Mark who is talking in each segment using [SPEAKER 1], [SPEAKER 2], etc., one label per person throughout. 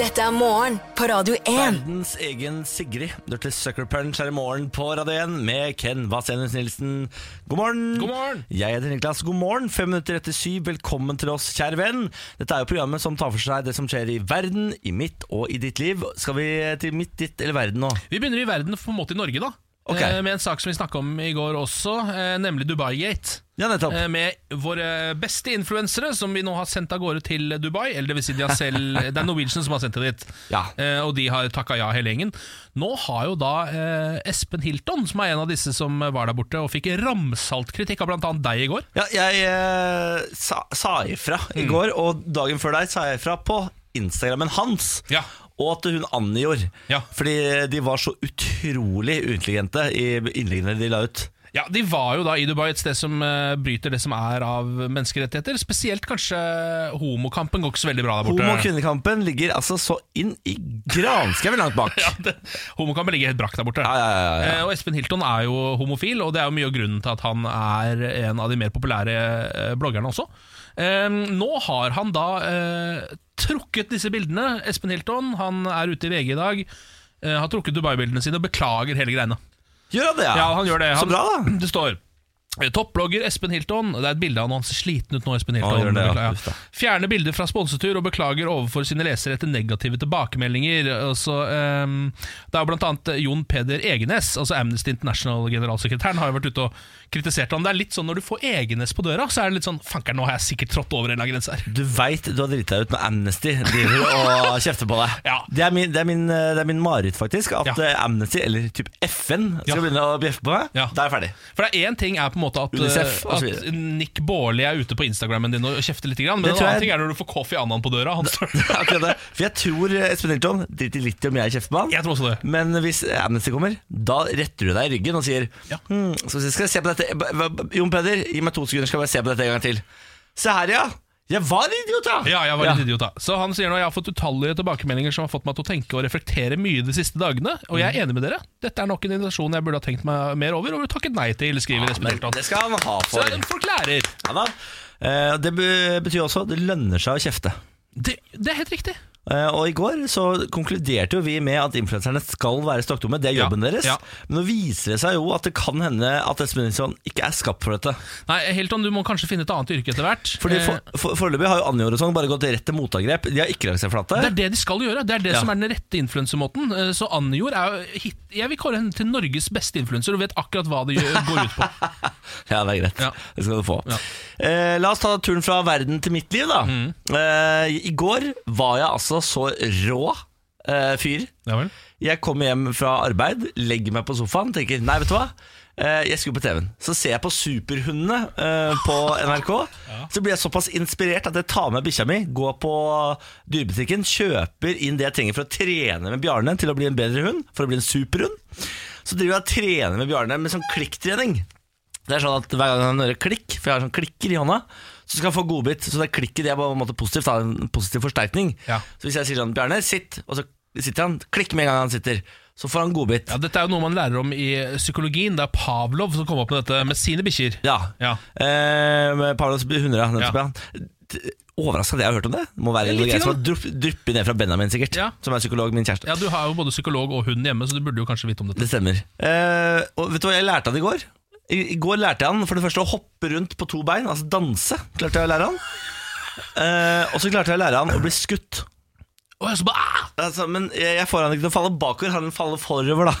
[SPEAKER 1] Dette er morgen på Radio 1.
[SPEAKER 2] Verdens egen Sigrid. Du til Sucker Punch her i morgen på Radio 1 med Ken Vasenus Nilsen. God morgen.
[SPEAKER 3] God morgen.
[SPEAKER 2] Jeg heter Niklas. God morgen. Fem minutter etter syv. Velkommen til oss, kjære venn. Dette er jo programmet som tar for seg det som skjer i verden, i mitt og i ditt liv. Skal vi til mitt, ditt eller verden nå?
[SPEAKER 3] Vi begynner i verden på en måte i Norge da
[SPEAKER 2] Ok.
[SPEAKER 3] Eh, Med en sak som vi snakket om i går også eh, Nemlig Dubai-gate
[SPEAKER 2] Ja, nettopp.
[SPEAKER 3] Eh, Med våre beste influensere Som vi nå har sendt av gårde til Dubai Eller det vil si de har selv Det er Norwegian som har sendt det dit
[SPEAKER 2] Ja.
[SPEAKER 3] Eh, Og de har takket ja hele gjengen Nå har jo da eh, Espen Hilton Som er en av disse som var der borte Og fikk ramsalt kritikk av blant annet deg i går
[SPEAKER 2] Ja, jeg eh, sa, sa ifra i
[SPEAKER 3] Mm.
[SPEAKER 2] går, og dagen før deg sa jeg ifra på Instagrammen hans.
[SPEAKER 3] Ja.
[SPEAKER 2] Og at hun Annie gjorde.
[SPEAKER 3] Ja.
[SPEAKER 2] Fordi de var så utrolig uintelligente i innleggene de la ut.
[SPEAKER 3] Ja, De var jo da i Dubai et sted som eh, bryter det som er av menneskerettigheter. Spesielt kanskje homokampen går ikke så veldig bra der borte.
[SPEAKER 2] Homo- og kvinnekampen ligger altså så inn i granskauen langt bak. ja,
[SPEAKER 3] det, homokampen ligger helt brakk der borte.
[SPEAKER 2] ja, ja, ja.
[SPEAKER 3] Eh, og Espen Hilton er jo homofil, og det er jo mye av grunnen til at han er en av de mer populære eh, bloggerne også. Eh, nå har han da eh, trukket disse bildene. Espen Hilton han er ute i VG i dag. eh, har trukket Dubai-bildene sine og beklager hele greiene.
[SPEAKER 2] Gjør han det, ja?
[SPEAKER 3] Ja, han gjør det. Han,
[SPEAKER 2] Så bra, da.
[SPEAKER 3] Det står Toppblogger Espen Hilton Det er et bilde av han Han ser sliten ut nå, Espen Hilton.
[SPEAKER 2] han gjør det, ja.
[SPEAKER 3] Beklager.
[SPEAKER 2] Uff da.
[SPEAKER 3] Fjerne bilder fra sponsetur og beklager overfor sine lesere etter negative tilbakemeldinger. Og så, ehm, det er jo blant annet Jon Peder Egenes, altså Amnesty International-generalsekretæren, har jo vært ute og kritisert han. Det er litt sånn når du får Egenes på døra, så er det litt sånn Fanker'n, nå har jeg sikkert trådt over en eller annen grense her.
[SPEAKER 2] Du veit du har driti deg ut når Amnesty driver og kjefter på deg.
[SPEAKER 3] Ja.
[SPEAKER 2] Det er min, det er min, eh, det er min mareritt, faktisk. At
[SPEAKER 3] Ja.
[SPEAKER 2] eh, Amnesty, eller typ FN, skal
[SPEAKER 3] Ja.
[SPEAKER 2] begynne å bjeffe på meg.
[SPEAKER 3] Ja.
[SPEAKER 2] Da er jeg ferdig.
[SPEAKER 3] For det er én ting er på en måte at,
[SPEAKER 2] UNICEF, og så
[SPEAKER 3] eh, at
[SPEAKER 2] videre.
[SPEAKER 3] Nick Baarli er ute på Instagrammen din og kjefter litt, grann, men
[SPEAKER 2] Det
[SPEAKER 3] en
[SPEAKER 2] tror
[SPEAKER 3] annen
[SPEAKER 2] jeg-
[SPEAKER 3] ting er når du får Kofi Annan på døra. Han står
[SPEAKER 2] Akkurat det. For jeg tror eh, Espen Hilton driter litt i om jeg kjefter på han.
[SPEAKER 3] Jeg tror også det.
[SPEAKER 2] Men hvis Amnesty kommer, da retter du deg i ryggen og sier
[SPEAKER 3] Ja.
[SPEAKER 2] «Hm, så skal jeg se på dette B- b- Jon Peder, gi meg to sekunder, skal jeg bare se på dette en gang til. Se her, ja. Jeg var en idiot, da!
[SPEAKER 3] Ja, jeg var litt idiot da Så han sier nå Jeg har fått utallige tilbakemeldinger Som har fått meg til å tenke og reflektere mye de siste dagene Og jeg er enig med dere Dette er nok en invitasjon jeg burde ha tenkt meg mer over Og takket nei til, skriver Espen
[SPEAKER 2] Men
[SPEAKER 3] Hilton
[SPEAKER 2] det skal han ha
[SPEAKER 3] Så
[SPEAKER 2] for.
[SPEAKER 3] folk lærer
[SPEAKER 2] Ja, da. Eh, Det be- betyr også at det lønner seg å kjefte.
[SPEAKER 3] det, det er helt riktig
[SPEAKER 2] Eh, Og i går så konkluderte jo vi med at influenserne skal være stokkdumme. Det er jobben
[SPEAKER 3] Ja,
[SPEAKER 2] deres.
[SPEAKER 3] ja.
[SPEAKER 2] Men nå viser det seg jo at det kan hende at Espen Nilsson ikke er skapt for dette.
[SPEAKER 3] Nei, Hilton, du må kanskje finne et annet yrke etter hvert
[SPEAKER 2] Fordi
[SPEAKER 3] Eh,
[SPEAKER 2] for- for- Foreløpig har jo Anjo og sånn bare gått rett til motangrep. De har ikke lagt seg flate.
[SPEAKER 3] det er det de skal gjøre Det er det
[SPEAKER 2] Ja.
[SPEAKER 3] som er den rette influensemåten Eh, Så Anjor er jo hit, Jeg vil kåre henne til Norges beste influenser Og vet akkurat hva det gjør, går ut på
[SPEAKER 2] Ja, det er greit.
[SPEAKER 3] Ja.
[SPEAKER 2] Det skal du få.
[SPEAKER 3] Ja.
[SPEAKER 2] Eh, la oss ta turen fra verden til mitt liv, da.
[SPEAKER 3] Mm.
[SPEAKER 2] Eh, I går var jeg altså så rå eh, fyr.
[SPEAKER 3] Ja vel
[SPEAKER 2] Jeg kommer hjem fra arbeid, legger meg på sofaen, tenker nei, vet du hva? Eh, Jeg skulle på TV-en. Så ser jeg på Superhundene eh, på NRK. Så blir jeg såpass inspirert at jeg tar med bikkja mi, går på dyrebutikken, kjøper inn det jeg trenger for å trene med Bjarne til å bli en bedre hund, for å bli en superhund. Så driver jeg og trener med Bjarne med sånn klikktrening. Det er sånn at Hver gang han hører klikk, for jeg har sånn klikker i hånda, så skal han få godbit. Så det klikket det er på en måte positivt, da, en positiv forsterkning.
[SPEAKER 3] Ja.
[SPEAKER 2] Så hvis jeg sier sånn, Bjarne, sitt, og så sitter han, klikk med en gang han sitter, så får han godbit.
[SPEAKER 3] ja, Dette er jo noe man lærer om i psykologien Det er Pavlov som kom opp med dette Med sine bikkjer
[SPEAKER 2] Ja.
[SPEAKER 3] Ja.
[SPEAKER 2] Eh, med Paulos hundra, nettopp,
[SPEAKER 3] Ja.
[SPEAKER 2] ja. T- Overrasket at jeg har hørt om det. Det må være
[SPEAKER 3] Ja,
[SPEAKER 2] en
[SPEAKER 3] litt
[SPEAKER 2] greie som har
[SPEAKER 3] grann.
[SPEAKER 2] drupp- dryppet ned fra Benjamin, sikkert.
[SPEAKER 3] Ja.
[SPEAKER 2] Som er psykolog, min kjæreste.
[SPEAKER 3] Ja, Du har jo både psykolog og hund hjemme, så du burde jo kanskje vite om dette.
[SPEAKER 2] Det stemmer. Eh, og vet du hva jeg lærte han i går? I, I går lærte jeg han for det første å hoppe rundt på to bein, altså danse. Klarte jeg å lære han. Eh, og så klarte jeg å lære han å bli skutt.
[SPEAKER 3] Åh, jeg så bare, ah!
[SPEAKER 2] Altså, men jeg, jeg får han ikke til å falle bakover, han faller forover, da.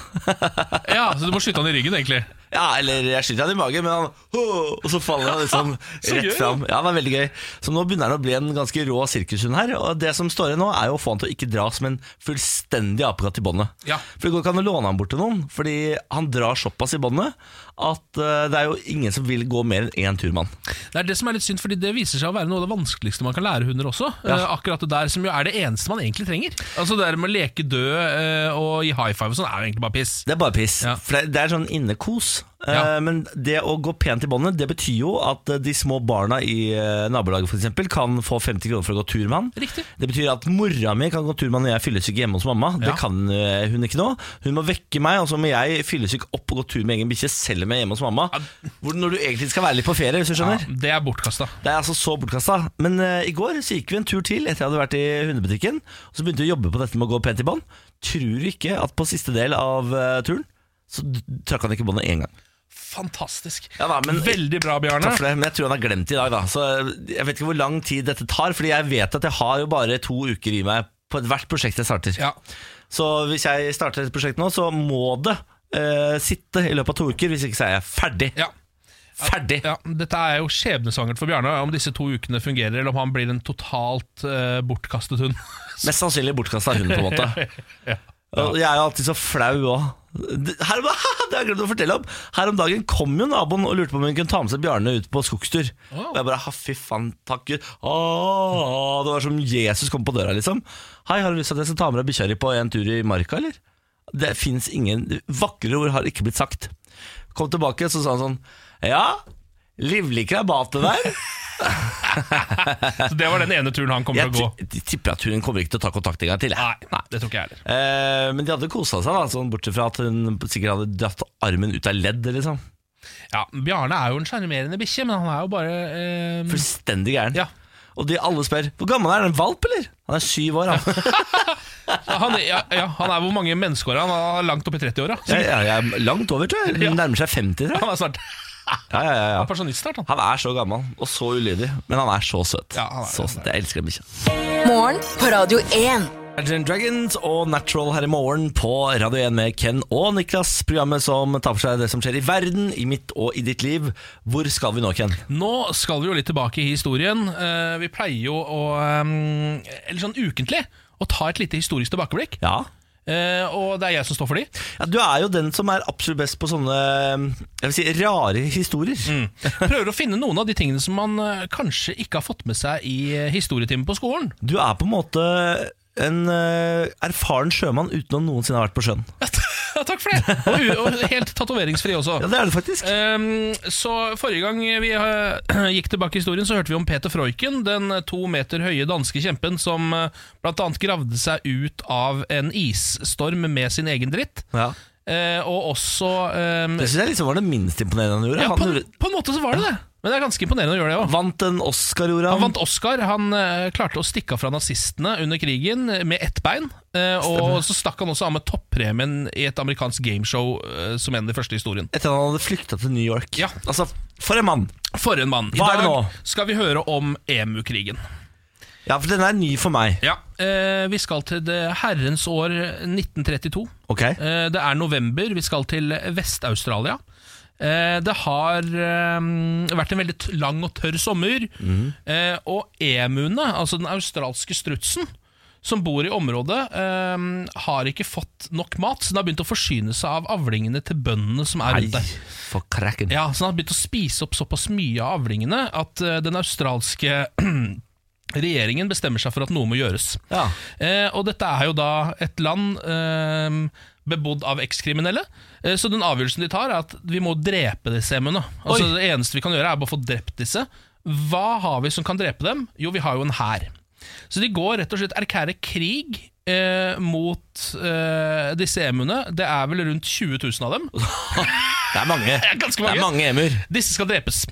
[SPEAKER 3] Ja, Så du må skyte han i ryggen, egentlig.
[SPEAKER 2] Ja, eller jeg skyter han i magen, men han «Åh!» Og så faller han liksom
[SPEAKER 3] Så
[SPEAKER 2] rett
[SPEAKER 3] gøy, da.
[SPEAKER 2] fram. Ja, det var veldig gøy. Så nå begynner han å bli en ganske rå sirkushund her. Og det som står igjen nå, er jo å få han til å ikke dra som en fullstendig apekatt i båndet.
[SPEAKER 3] Ja.
[SPEAKER 2] For det går ikke an å låne han bort til noen, fordi han drar såpass i båndet at eh, det er jo ingen som vil gå mer enn én tur med han.
[SPEAKER 3] Det er det som er litt synd, fordi det viser seg å være noe av det vanskeligste man kan lære hunder også. Eh, akkurat det der som jo er det eneste man egentlig trenger. Altså Det der med å leke død eh, og gi high five og sånn, er jo egentlig bare piss.
[SPEAKER 2] Det er bare piss.
[SPEAKER 3] Ja.
[SPEAKER 2] For det, det er sånn innekos. oss. Eh,
[SPEAKER 3] Ja.
[SPEAKER 2] Men det å gå pent i båndet, det betyr jo at eh, de små barna i eh, nabolaget for eksempel, kan få 50 kroner for å gå tur med han.
[SPEAKER 3] Riktig.
[SPEAKER 2] Det betyr at mora mi kan gå tur med han når jeg er fyllesyk hjemme hos mamma. Det
[SPEAKER 3] Ja.
[SPEAKER 2] kan eh, hun ikke nå. Hun må vekke meg, og så må jeg fyllesyk opp og gå tur med egen bikkje selv om jeg er hjemme hos mamma. Hvor, når du egentlig skal være litt på ferie, hvis du skjønner.
[SPEAKER 3] Det er bortkasta.
[SPEAKER 2] Det er altså så bortkasta. Men eh, i går så gikk vi en tur til etter jeg hadde vært i hundebutikken. Og så begynte vi å jobbe på dette med å gå pent i bånd. Tror du ikke at på siste del av eh, turen så d- trakk han ikke båndet én gang.
[SPEAKER 3] Fantastisk.
[SPEAKER 2] Ja da, men-
[SPEAKER 3] Veldig bra, Bjarne.
[SPEAKER 2] Takk for det, men jeg tror han har glemt det i dag, da. Så eh, jeg vet ikke hvor lang tid dette tar, Fordi jeg vet at jeg har jo bare to uker i meg på ethvert prosjekt jeg starter.
[SPEAKER 3] Ja.
[SPEAKER 2] Så hvis jeg starter et prosjekt nå, så må det eh, sitte i løpet av to uker. Hvis ikke så er jeg ferdig.
[SPEAKER 3] Ja.
[SPEAKER 2] Ferdig!
[SPEAKER 3] Ja, dette er jo skjebnesvangert for Bjarne, om disse to ukene fungerer, eller om han blir en totalt eh, bortkastet hund.
[SPEAKER 2] Mest sannsynlig bortkasta hund, på en måte. Og Jeg er jo alltid så flau òg. Her, om- det har jeg glemt å fortelle om Her om dagen kom jo naboen og lurte på om hun kunne ta med seg Bjarne ut på skogstur.
[SPEAKER 3] Wow.
[SPEAKER 2] Og jeg bare ha, fy faen, takk Gud. Åh, det var som Jesus kom på døra, liksom. Hei, har du lyst til at jeg skal ta med deg bikkja di på en tur i marka, eller? Det fins ingen Vakre ord har ikke blitt sagt. Kom tilbake, så sa han sånn Ja, livlig krabatet der.
[SPEAKER 3] Så det var den ene turen han kommer
[SPEAKER 2] Jeg
[SPEAKER 3] til å gå.
[SPEAKER 2] ti- tipper at hun kommer ikke til å ta kontakt en gang til. jeg.
[SPEAKER 3] Nei, det tror ikke jeg heller.
[SPEAKER 2] Eh, men de hadde kosa seg, da sånn, bortsett fra at hun sikkert hadde dratt armen ut av ledd. Liksom.
[SPEAKER 3] Ja, Bjarne er jo en sjarmerende bikkje, men han er jo bare eh,
[SPEAKER 2] Fullstendig gæren.
[SPEAKER 3] Ja.
[SPEAKER 2] Og de alle spør hvor gammel er den valp, eller? Han er syv år. Han.
[SPEAKER 3] han, er- ja, ja, han er hvor mange menneskeår er han? Han er langt opp i 30-åra.
[SPEAKER 2] Jeg, jeg, jeg er langt over, tror jeg.
[SPEAKER 3] Ja.
[SPEAKER 2] Nærmer seg 50, tror jeg.
[SPEAKER 3] Han er snart
[SPEAKER 2] Ja, ja, ja, ja.
[SPEAKER 3] pensjonist snart, han.
[SPEAKER 2] Han er så gammel og så ulydig, men han er så søt.
[SPEAKER 3] Ja, han er-
[SPEAKER 2] så søt. Jeg elsker den bikkja.
[SPEAKER 1] Morgen på Radio 1.
[SPEAKER 2] Imagine Dragons og Natural her i morgen på Radio 1 med Ken og Niklas. Programmet som tar for seg det som skjer i verden, i mitt og i ditt liv. Hvor skal vi nå, Ken?
[SPEAKER 3] Nå skal vi jo litt tilbake i historien. Eh, vi pleier jo å eh, Eller sånn ukentlig å ta et lite historisk tilbakeblikk.
[SPEAKER 2] Ja,
[SPEAKER 3] Eh, og det er jeg som står for de.
[SPEAKER 2] Ja, du er jo den som er absolutt best på sånne jeg vil si, rare historier.
[SPEAKER 3] Mm. Prøver å finne noen av de tingene som man eh, kanskje ikke har fått med seg i eh, historietimen på skolen.
[SPEAKER 2] Du er på en måte en eh, erfaren sjømann uten å noensinne ha vært på sjøen.
[SPEAKER 3] Ja, ta- takk for det! Og, u- og helt tatoveringsfri også.
[SPEAKER 2] Ja, det er du faktisk.
[SPEAKER 3] Ehm, så forrige gang vi eh, gikk tilbake i historien, så hørte vi om Peter Freuchen, den eh, to meter høye danske kjempen som eh, blant annet gravde seg ut av en isstorm med sin egen dritt.
[SPEAKER 2] Ja.
[SPEAKER 3] Eh, og også ehm,
[SPEAKER 2] Det syns jeg liksom var det minst imponerende han gjorde.
[SPEAKER 3] ja,
[SPEAKER 2] han
[SPEAKER 3] på, en-
[SPEAKER 2] gjorde,
[SPEAKER 3] på en måte så var det det. Men det er ganske imponerende å gjøre det òg.
[SPEAKER 2] vant en Oscar, gjorde
[SPEAKER 3] Han
[SPEAKER 2] han.
[SPEAKER 3] vant Oscar. Han eh, klarte å stikke av fra nazistene under krigen eh, med ett bein. eh, og så stakk han også av med toppremien i et amerikansk gameshow eh, som en av de første i historien.
[SPEAKER 2] Etter at han hadde flykta til New York.
[SPEAKER 3] Ja.
[SPEAKER 2] Altså, for en mann!
[SPEAKER 3] For en mann. I
[SPEAKER 2] Hva er det
[SPEAKER 3] dag
[SPEAKER 2] nå?
[SPEAKER 3] skal vi høre om EMU-krigen.
[SPEAKER 2] Ja, for den er ny for meg.
[SPEAKER 3] Ja, eh, Vi skal til det herrens år 1932.
[SPEAKER 2] Ok?
[SPEAKER 3] Eh, det er november. Vi skal til Vest-Australia. Eh, det har eh, vært en veldig t- lang og tørr sommer. Eh, og emuene, altså den australske strutsen, som bor i området, eh, har ikke fått nok mat, så den har begynt å forsyne seg av avlingene til bøndene som er
[SPEAKER 2] Nei,
[SPEAKER 3] rundt der.
[SPEAKER 2] for kraken.
[SPEAKER 3] Ja, så han har begynt å spise opp såpass mye av avlingene at eh, den australske regjeringen bestemmer seg for at noe må gjøres.
[SPEAKER 2] Ja.
[SPEAKER 3] Eh, og dette er jo da et land eh, bebodd av ekskriminelle, eh, så den avgjørelsen de tar er at vi må drepe disse emuene. Altså,
[SPEAKER 2] Oi.
[SPEAKER 3] det eneste vi kan gjøre er bare å få drept disse. Hva har vi som kan drepe dem? Jo, vi har jo en hær. Så de går rett og slett erklærer krig eh, mot eh, disse emuene. Det er vel rundt 20 000 av dem.
[SPEAKER 2] Det er mange.
[SPEAKER 3] er ganske
[SPEAKER 2] Det
[SPEAKER 3] mange.
[SPEAKER 2] er mange emuer.
[SPEAKER 3] Disse skal drepes.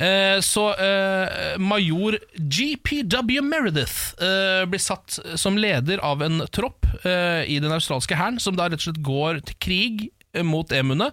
[SPEAKER 3] Eh, så eh, major GPW Meredith eh, blir satt som leder av en tropp eh, i den australske hæren, som da rett og slett går til krig eh, mot emuene.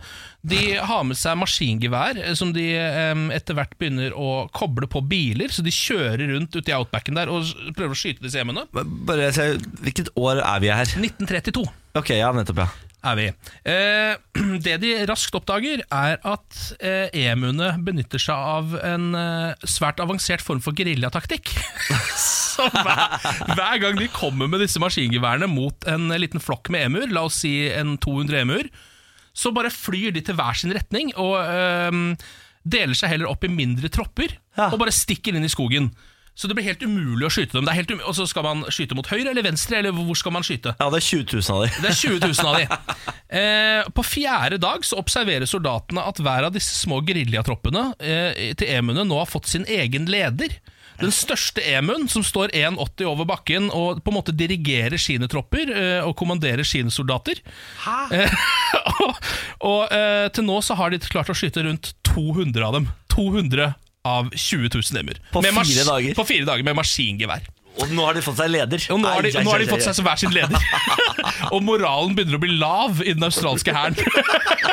[SPEAKER 3] De har med seg maskingevær, eh, som de eh, etter hvert begynner å koble på biler. Så de kjører rundt ute i outbacken der og s- prøver å skyte disse emuene.
[SPEAKER 2] Men Bare se, Hvilket år er vi her?
[SPEAKER 3] 1932
[SPEAKER 2] Ok, ja, nettopp, ja.
[SPEAKER 3] er vi. Eh, det de raskt oppdager, er at eh, emuene benytter seg av en eh, svært avansert form for geriljataktikk. Så hver, hver gang de kommer med disse maskingeværene mot en liten flokk med emuer, la oss si en 200 emuer, så bare flyr de til hver sin retning og øhm, deler seg heller opp i mindre tropper
[SPEAKER 2] Ja.
[SPEAKER 3] og bare stikker inn i skogen. Så det blir helt umulig å skyte dem. Det er helt um og så skal man skyte mot høyre eller venstre, eller hvor skal man skyte?
[SPEAKER 2] Ja, det er 20 000 av dem.
[SPEAKER 3] Det er 20 000 av de. Eh, på fjerde dag så observerer soldatene at hver av disse små geriljatroppene eh, til emuene nå har fått sin egen leder. Den største emuen, som står 1,80 over bakken og på en måte dirigerer sine tropper eh, og kommanderer sine soldater. Eh, og og eh, til nå så har de klart å skyte rundt 200 av dem. 200 av 20 000 emuer.
[SPEAKER 2] På
[SPEAKER 3] Med mas-
[SPEAKER 2] fire dager?
[SPEAKER 3] På fire dager med maskingevær.
[SPEAKER 2] Og nå har de fått seg leder.
[SPEAKER 3] Og nå har, de,
[SPEAKER 2] Ai, ai,
[SPEAKER 3] nå har de
[SPEAKER 2] ai,
[SPEAKER 3] fått
[SPEAKER 2] ai.
[SPEAKER 3] seg hver sin leder. og moralen begynner å bli lav i den australske hæren.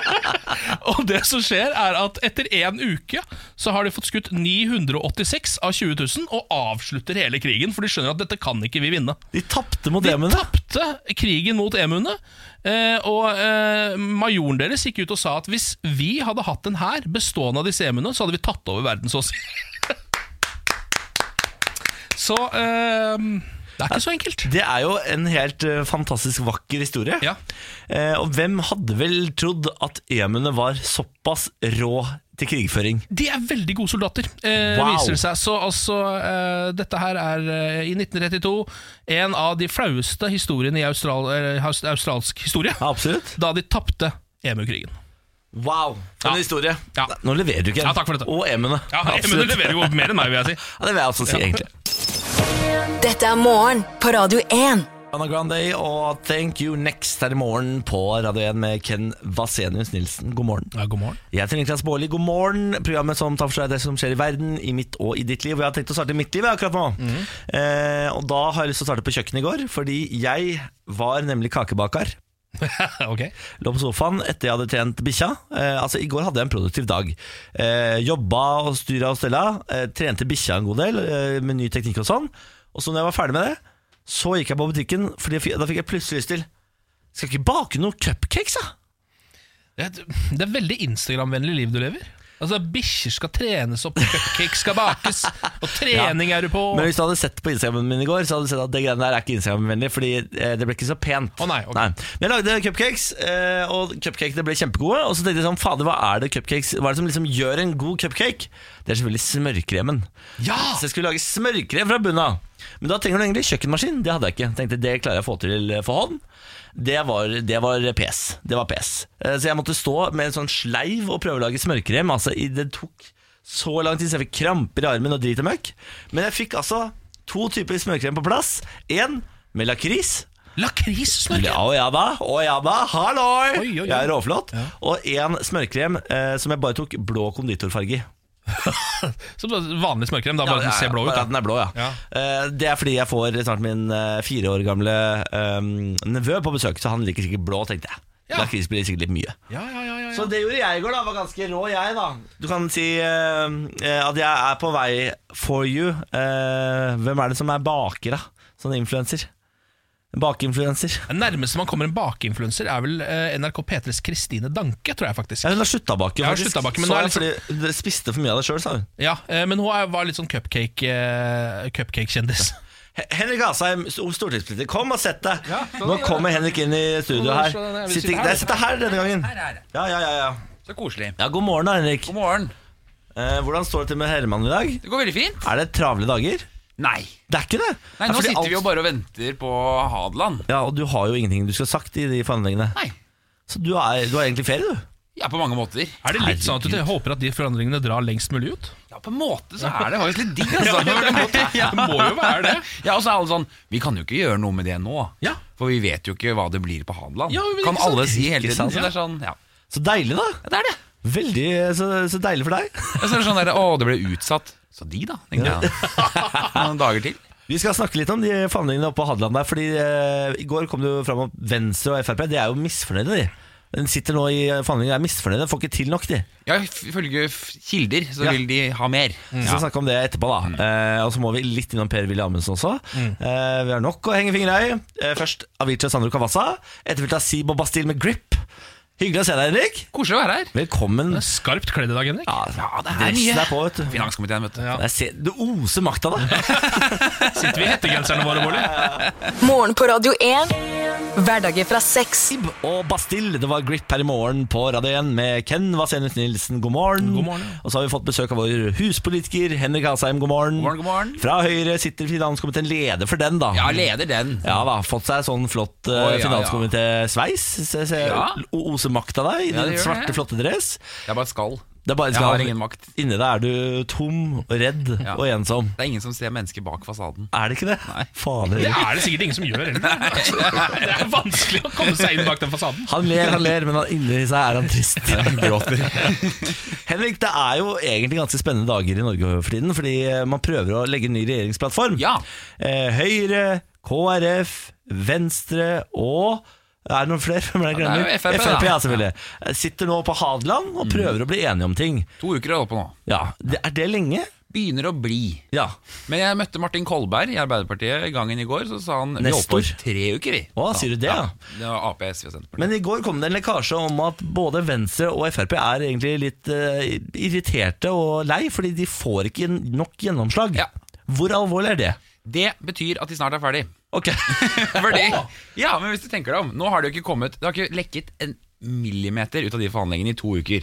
[SPEAKER 3] og det som skjer, er at etter én uke så har de fått skutt 986 av 20 000 og avslutter hele krigen, for de skjønner at dette kan ikke vi vinne.
[SPEAKER 2] De tapte mot
[SPEAKER 3] De
[SPEAKER 2] emuene.
[SPEAKER 3] tapte krigen mot emuene, eh, og eh, majoren deres gikk ut og sa at hvis vi hadde hatt en hær bestående av disse emuene, så hadde vi tatt over verden, så å si. Så eh, det er ikke så enkelt.
[SPEAKER 2] Det er jo en helt eh, fantastisk vakker historie.
[SPEAKER 3] Ja.
[SPEAKER 2] Eh, og hvem hadde vel trodd at emuene var såpass rå til krigføring?
[SPEAKER 3] De er veldig gode soldater, eh,
[SPEAKER 2] Wow.
[SPEAKER 3] viser det seg. Så altså, eh, dette her er eh, i 1932 en av de flaueste historiene i austral, eh, haus- australsk historie.
[SPEAKER 2] Ja, absolutt.
[SPEAKER 3] Da de tapte EMU-krigen.
[SPEAKER 2] Wow, for
[SPEAKER 3] Ja.
[SPEAKER 2] en historie.
[SPEAKER 3] Ja.
[SPEAKER 2] Nei, Nå leverer du ikke.
[SPEAKER 3] Ja, takk for dette.
[SPEAKER 2] Og emuene.
[SPEAKER 3] Ja,
[SPEAKER 2] Absolutt.
[SPEAKER 3] EMU leverer jo mer enn meg, vil jeg si.
[SPEAKER 2] Ja, det vil jeg også si, egentlig.
[SPEAKER 1] Dette er morgen på Radio 1.
[SPEAKER 2] Anna Grande og Thank You Next her i morgen på Radio 1 med Ken Vasenius Nilsen. God morgen.
[SPEAKER 3] Ja, god morgen.
[SPEAKER 2] Jeg heter Niklas Baarli, god morgen. Programmet som tar for seg det som skjer i verden, i mitt og i ditt liv. Og jeg har tenkt å starte i mitt liv jeg, akkurat nå. Eh, og da har jeg lyst til å starte på kjøkkenet i går, fordi jeg var nemlig kakebaker.
[SPEAKER 3] ok.
[SPEAKER 2] Lå på sofaen etter jeg hadde trent bikkja. Eh, altså, I går hadde jeg en produktiv dag. Eh, jobba og styra og stella. Eh, trente bikkja en god del eh, med ny teknikk og sånn. Og så når jeg var ferdig med det, så gikk jeg på butikken, for da fikk jeg plutselig lyst til Skal jeg ikke bake noen cupcakes, da?
[SPEAKER 3] Det er, det er veldig Instagram-vennlig liv du lever. Altså, Bikkjer skal trenes opp, cupcakes skal bakes, og trening er du på.
[SPEAKER 2] Men hvis du hadde sett på Instagramen min i går, Så hadde du sett at det greiene der er ikke Instagram-vennlig, Fordi eh, det ble ikke så pent.
[SPEAKER 3] Å nei, ok.
[SPEAKER 2] Men jeg lagde cupcakes, eh, og cupcakene ble kjempegode. Og så tenkte jeg sånn, fader, hva er det cupcakes Hva er det som liksom gjør en god cupcake? Det er selvfølgelig smørkremen.
[SPEAKER 3] Ja!
[SPEAKER 2] Så jeg skulle lage smørkrem fra bunnen av. Men da trenger du egentlig kjøkkenmaskin. Det hadde jeg ikke. Tenkte det klarer jeg å få til eh, for hånd. Det var, det var pes. Det var pes. Eh, Så jeg måtte stå med en sånn sleiv og prøve å lage smørkrem. Altså, i- det tok så lang tid, så jeg fikk kramper i armen og drit og møkk. Men jeg fikk altså to typer smørkrem på plass. En med lakris.
[SPEAKER 3] Lakrissmørke!
[SPEAKER 2] Ja, og ja da, og ja da, halloi!
[SPEAKER 3] Oi, oi, oi.
[SPEAKER 2] Jeg er råflott. Og en smørkrem eh, som jeg bare tok blå konditorfarge i.
[SPEAKER 3] Som vanlig smørkrem, da bare
[SPEAKER 2] Ja,
[SPEAKER 3] den ser blå ut.
[SPEAKER 2] bare at
[SPEAKER 3] Da.
[SPEAKER 2] den er blå, ja.
[SPEAKER 3] Ja.
[SPEAKER 2] Eh, det er fordi jeg får snart min eh, fire år gamle eh, nevø på besøk, så han liker sikkert blå, tenkte jeg.
[SPEAKER 3] Ja.
[SPEAKER 2] Lakris blir sikkert litt mye.
[SPEAKER 3] Ja, ja, ja, ja, ja.
[SPEAKER 2] Så det gjorde jeg i går, da. Var ganske rå, jeg, da. Du kan si eh, eh, at jeg er på vei for you. Eh, hvem er det som er baker, da? Sånn influenser. Bakeinfluenser.
[SPEAKER 3] Den nærmeste man kommer en bakeinfluenser, er vel eh, NRK P3s Kristine Danke, tror jeg faktisk.
[SPEAKER 2] Ja, hun har slutta å bake,
[SPEAKER 3] Ja, hun har
[SPEAKER 2] faktisk.
[SPEAKER 3] sluttet å bake, men
[SPEAKER 2] så
[SPEAKER 3] nå er liksom-
[SPEAKER 2] jeg fordi det spiste for mye av det sjøl, sa hun.
[SPEAKER 3] Ja, eh, Men hun er, var litt sånn cupcake, eh, cupcake-kjendis.
[SPEAKER 2] Hen- Henrik Asheim, sto- stortingspolitiker, kom og sett deg!
[SPEAKER 3] Ja, sånn,
[SPEAKER 2] Nå
[SPEAKER 3] ja.
[SPEAKER 2] kommer Henrik inn i studio
[SPEAKER 3] Nå
[SPEAKER 2] her.
[SPEAKER 3] skal den- jeg vil
[SPEAKER 2] Sitt
[SPEAKER 3] sitte
[SPEAKER 2] ikke-
[SPEAKER 3] her.
[SPEAKER 2] Nei, Sitt her denne gangen.
[SPEAKER 4] Her, her.
[SPEAKER 2] Ja, ja, ja, ja.
[SPEAKER 4] Så koselig.
[SPEAKER 2] ja God morgen, da, Henrik.
[SPEAKER 4] God morgen.
[SPEAKER 2] Eh, hvordan står det til med Herman i dag?
[SPEAKER 4] Det går veldig fint.
[SPEAKER 2] Er det travle dager?
[SPEAKER 4] Nei.
[SPEAKER 2] Det er ikke det!
[SPEAKER 4] Nei,
[SPEAKER 2] Det er
[SPEAKER 4] Nå
[SPEAKER 2] fordi
[SPEAKER 4] sitter
[SPEAKER 2] alt-
[SPEAKER 4] vi jo bare og venter på Hadeland.
[SPEAKER 2] Ja, Og du har jo ingenting du skal ha sagt i de forhandlingene.
[SPEAKER 4] Nei.
[SPEAKER 2] Så du er, du har egentlig ferie, du.
[SPEAKER 4] Ja, på mange måter.
[SPEAKER 3] Er det litt sånn at du håper at de forandringene drar lengst mulig ut?
[SPEAKER 4] Ja, på en måte så er det faktisk litt digg, altså.
[SPEAKER 3] Det må jo være det.
[SPEAKER 4] Ja, og så er alle sånn Vi kan jo ikke gjøre noe med det nå.
[SPEAKER 3] Ja.
[SPEAKER 4] For vi vet jo ikke hva det blir på Hadeland.
[SPEAKER 3] Ja, men
[SPEAKER 4] kan
[SPEAKER 3] ikke sant?
[SPEAKER 4] alle si hele
[SPEAKER 2] Ikke
[SPEAKER 4] tiden.
[SPEAKER 2] sant?
[SPEAKER 4] Så det er sånn, ja.
[SPEAKER 2] Så deilig, da.
[SPEAKER 4] ja det er det.
[SPEAKER 2] Veldig, eh, Så, så deilig for deg.
[SPEAKER 4] Og så er det sånn der, Å, det ble utsatt. Så de, da. Tenkte jeg. Noen dager til.
[SPEAKER 2] Vi skal snakke litt om de forhandlingene oppe på Hadeland der, fordi eh, i går kom det jo fram at Venstre og Frp de er jo misfornøyde, de. De sitter nå i forhandlinger og er misfornøyde, får ikke til nok, de.
[SPEAKER 4] Ja, Ifølge f- kilder så
[SPEAKER 2] Ja. Mm.
[SPEAKER 4] vil de ha mer. sånn,
[SPEAKER 2] Vi skal snakke om det etterpå, da. Eh, og så må vi litt innom Per Willy Amundsen også. Eh, vi har nok å henge fingra i. Eh, først Avicii og Sandro Cavazza. Etterfulgt av Sibo Bastille med Grip. Hyggelig å se deg, Henrik.
[SPEAKER 4] Koselig å være her.
[SPEAKER 2] Velkommen.
[SPEAKER 3] Det er skarpt kledd i dag, Henrik.
[SPEAKER 2] Ja,
[SPEAKER 4] det er
[SPEAKER 2] dressen
[SPEAKER 4] mye.
[SPEAKER 2] er på, vet du.
[SPEAKER 4] Finanskomiteen, vet du.
[SPEAKER 3] Ja.
[SPEAKER 2] Jeg ser, du oser makt av deg.
[SPEAKER 3] Sitter vi i hettegenserne våre, Molly?
[SPEAKER 1] Morgen på Radio 1. Hverdager fra seks.
[SPEAKER 2] Ib og Bastille, det var Grip her i morgen på Radio 1 med Ken Vasenius Nilsen, god morgen.
[SPEAKER 3] God morgen, ja.
[SPEAKER 2] Og så har vi fått besøk av vår huspolitiker Henrik Asheim, god morgen.
[SPEAKER 4] God morgen, god morgen.
[SPEAKER 2] Fra Høyre sitter finanskomiteen leder for den, da.
[SPEAKER 4] Ja, leder den.
[SPEAKER 2] Ja da, fått seg sånn flott uh,
[SPEAKER 4] Å, ja, ja.
[SPEAKER 2] finanskomité-sveis. Se- se-
[SPEAKER 4] Ja.
[SPEAKER 2] o- Oser makt av deg i
[SPEAKER 4] Ja, det
[SPEAKER 2] din
[SPEAKER 4] gjør
[SPEAKER 2] svarte,
[SPEAKER 4] det.
[SPEAKER 2] flotte dress.
[SPEAKER 4] Det er bare et skall.
[SPEAKER 2] Det er bare
[SPEAKER 4] Jeg
[SPEAKER 2] skal,
[SPEAKER 4] har ingen makt.
[SPEAKER 2] Inni deg er du tom, redd
[SPEAKER 4] Ja.
[SPEAKER 2] og ensom.
[SPEAKER 4] Det er ingen som ser mennesket bak fasaden.
[SPEAKER 2] Er det ikke det?
[SPEAKER 4] Nei.
[SPEAKER 2] Fader.
[SPEAKER 3] Det er det sikkert ingen som gjør heller. Det er vanskelig å komme seg inn bak den fasaden.
[SPEAKER 2] Han ler, han ler, men han- inni seg er han trist.
[SPEAKER 4] Gråter.
[SPEAKER 2] Henrik, det er jo egentlig ganske spennende dager i Norge for tiden, fordi man prøver å legge en ny regjeringsplattform.
[SPEAKER 4] Ja.
[SPEAKER 2] Eh, Høyre, KrF, Venstre og er det noen flere? Hvem er det jeg
[SPEAKER 4] Ja, det er
[SPEAKER 2] glemmer?
[SPEAKER 4] jo FrP, da. Mm.
[SPEAKER 2] ja, selvfølgelig. Eh, Sitter nå på Hadeland og prøver å bli enige om ting.
[SPEAKER 4] To uker har jeg holdt på nå.
[SPEAKER 2] Ja, det, Er det lenge?
[SPEAKER 4] Begynner å bli.
[SPEAKER 2] Ja.
[SPEAKER 4] Men jeg møtte Martin Kolberg i Arbeiderpartiet i gangen i går. Så sa han vi
[SPEAKER 2] Nestor.
[SPEAKER 4] holder på i tre uker, vi.
[SPEAKER 2] Å,
[SPEAKER 4] Sa
[SPEAKER 2] sier du
[SPEAKER 4] han.
[SPEAKER 2] det, ja?
[SPEAKER 4] ja. Det var Ap, SV og Senterpartiet.
[SPEAKER 2] Men i går kom det en lekkasje om at både Venstre og Frp er egentlig litt eh, irriterte og lei, fordi de får ikke nok gjennomslag.
[SPEAKER 4] Ja.
[SPEAKER 2] Hvor alvorlig er det?
[SPEAKER 4] Det betyr at de snart er ferdig.
[SPEAKER 2] Ok.
[SPEAKER 4] Fordi, ja, men hvis du tenker deg om Nå har det jo ikke kommet Det har ikke lekket en millimeter ut av de forhandlingene i to uker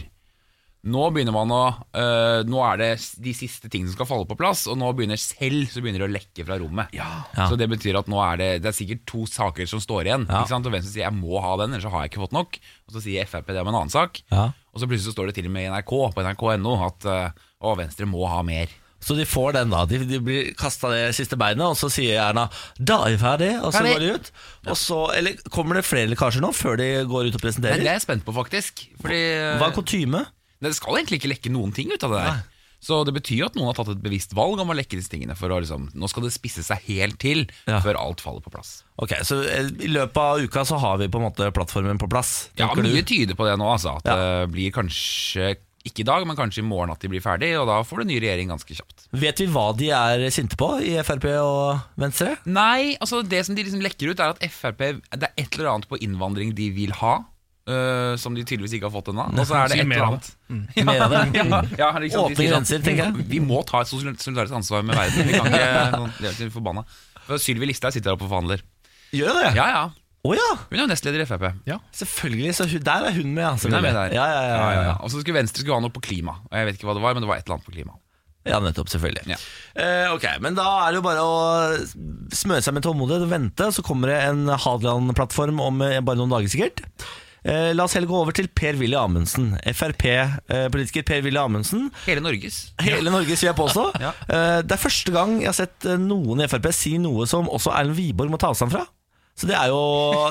[SPEAKER 4] Nå begynner man å øh, Nå er det s- de siste tingene som skal falle på plass Og nå begynner selv Så begynner det å lekke fra rommet
[SPEAKER 2] Ja.
[SPEAKER 4] Så det betyr at nå er det Det er sikkert to saker som står igjen
[SPEAKER 2] Ja.
[SPEAKER 4] Ikke sant? Og hvem som sier jeg må ha den Ellers så har jeg ikke fått nok Og så sier FRP det om en annen sak
[SPEAKER 2] Ja.
[SPEAKER 4] Og så plutselig så står det til og med i NRK På NRK.no At øh, å, Venstre må ha mer
[SPEAKER 2] Så de får den, da. De, de blir kasta det siste beinet, og så sier Erna 'da er vi ferdig', og så
[SPEAKER 4] Ferdig.
[SPEAKER 2] går de ut. Og så, eller Kommer det flere lekkasjer nå, før de går ut og
[SPEAKER 4] Men det
[SPEAKER 2] presenterer?
[SPEAKER 4] er jeg spent på faktisk Fordi øh,
[SPEAKER 2] Hva er kutyme?
[SPEAKER 4] Nei, Det skal egentlig ikke lekke noen ting ut av det der. Så det betyr jo at noen har tatt et bevisst valg om å lekke disse tingene. For å liksom, nå skal det spisse seg helt til
[SPEAKER 2] Ja.
[SPEAKER 4] før alt faller på plass.
[SPEAKER 2] Ok, så eh, I løpet av uka så har vi på en måte plattformen på plass.
[SPEAKER 4] Ja,
[SPEAKER 2] tenker
[SPEAKER 4] Mye
[SPEAKER 2] du?
[SPEAKER 4] tyder på det nå. Altså, at det blir kanskje ikke i dag, men kanskje i morgen at de blir ferdig. Og da får du ny regjering ganske kjapt.
[SPEAKER 2] Vet vi hva de er sinte på i Frp og Venstre?
[SPEAKER 4] Nei, altså det som de liksom lekker ut, er at Frp Det er et eller annet på innvandring de vil ha. øh, som de tydeligvis ikke har fått ennå. Og så er det
[SPEAKER 3] Si
[SPEAKER 4] et
[SPEAKER 3] mer
[SPEAKER 4] eller
[SPEAKER 3] av
[SPEAKER 4] annet.
[SPEAKER 2] Mer av det.
[SPEAKER 4] Ja, ja, liksom, de
[SPEAKER 2] Åpne
[SPEAKER 4] sier sånn,
[SPEAKER 2] grenser, tenker jeg.
[SPEAKER 4] Vi må ta et sosial- solidarisk ansvar med verden. Vi kan ikke sånn, det er litt forbanna. For Sylvi Listhaug sitter her oppe og forhandler.
[SPEAKER 2] Gjør det? Å ja.
[SPEAKER 4] Ja, ja. Hun er jo nestleder i Frp.
[SPEAKER 2] Selvfølgelig. Så hun, der er hun med, ja.
[SPEAKER 4] Hun er
[SPEAKER 2] selvfølgelig.
[SPEAKER 4] med der.
[SPEAKER 2] Ja, ja, ja, ja, ja.
[SPEAKER 4] Og så skulle Venstre skulle ha noe på klima. Og Jeg vet ikke hva det var, men det var et eller annet på klima.
[SPEAKER 2] Ja, nettopp, selvfølgelig.
[SPEAKER 4] Ja.
[SPEAKER 2] Eh, ok, Men da er det jo bare å smøre seg med tålmodighet og vente, så kommer det en Hadeland-plattform om eh, bare noen dager, sikkert. Eh, la oss heller gå over til Per-Willy Amundsen. Frp-politiker eh, Per-Willy Amundsen.
[SPEAKER 4] Hele Norges.
[SPEAKER 2] Hele Norges, vil jeg påstå.
[SPEAKER 4] Ja.
[SPEAKER 2] Eh, det er første gang jeg har sett eh, noen i Frp si noe som også Erlend Wiborg må ta avstand fra. Så det er jo,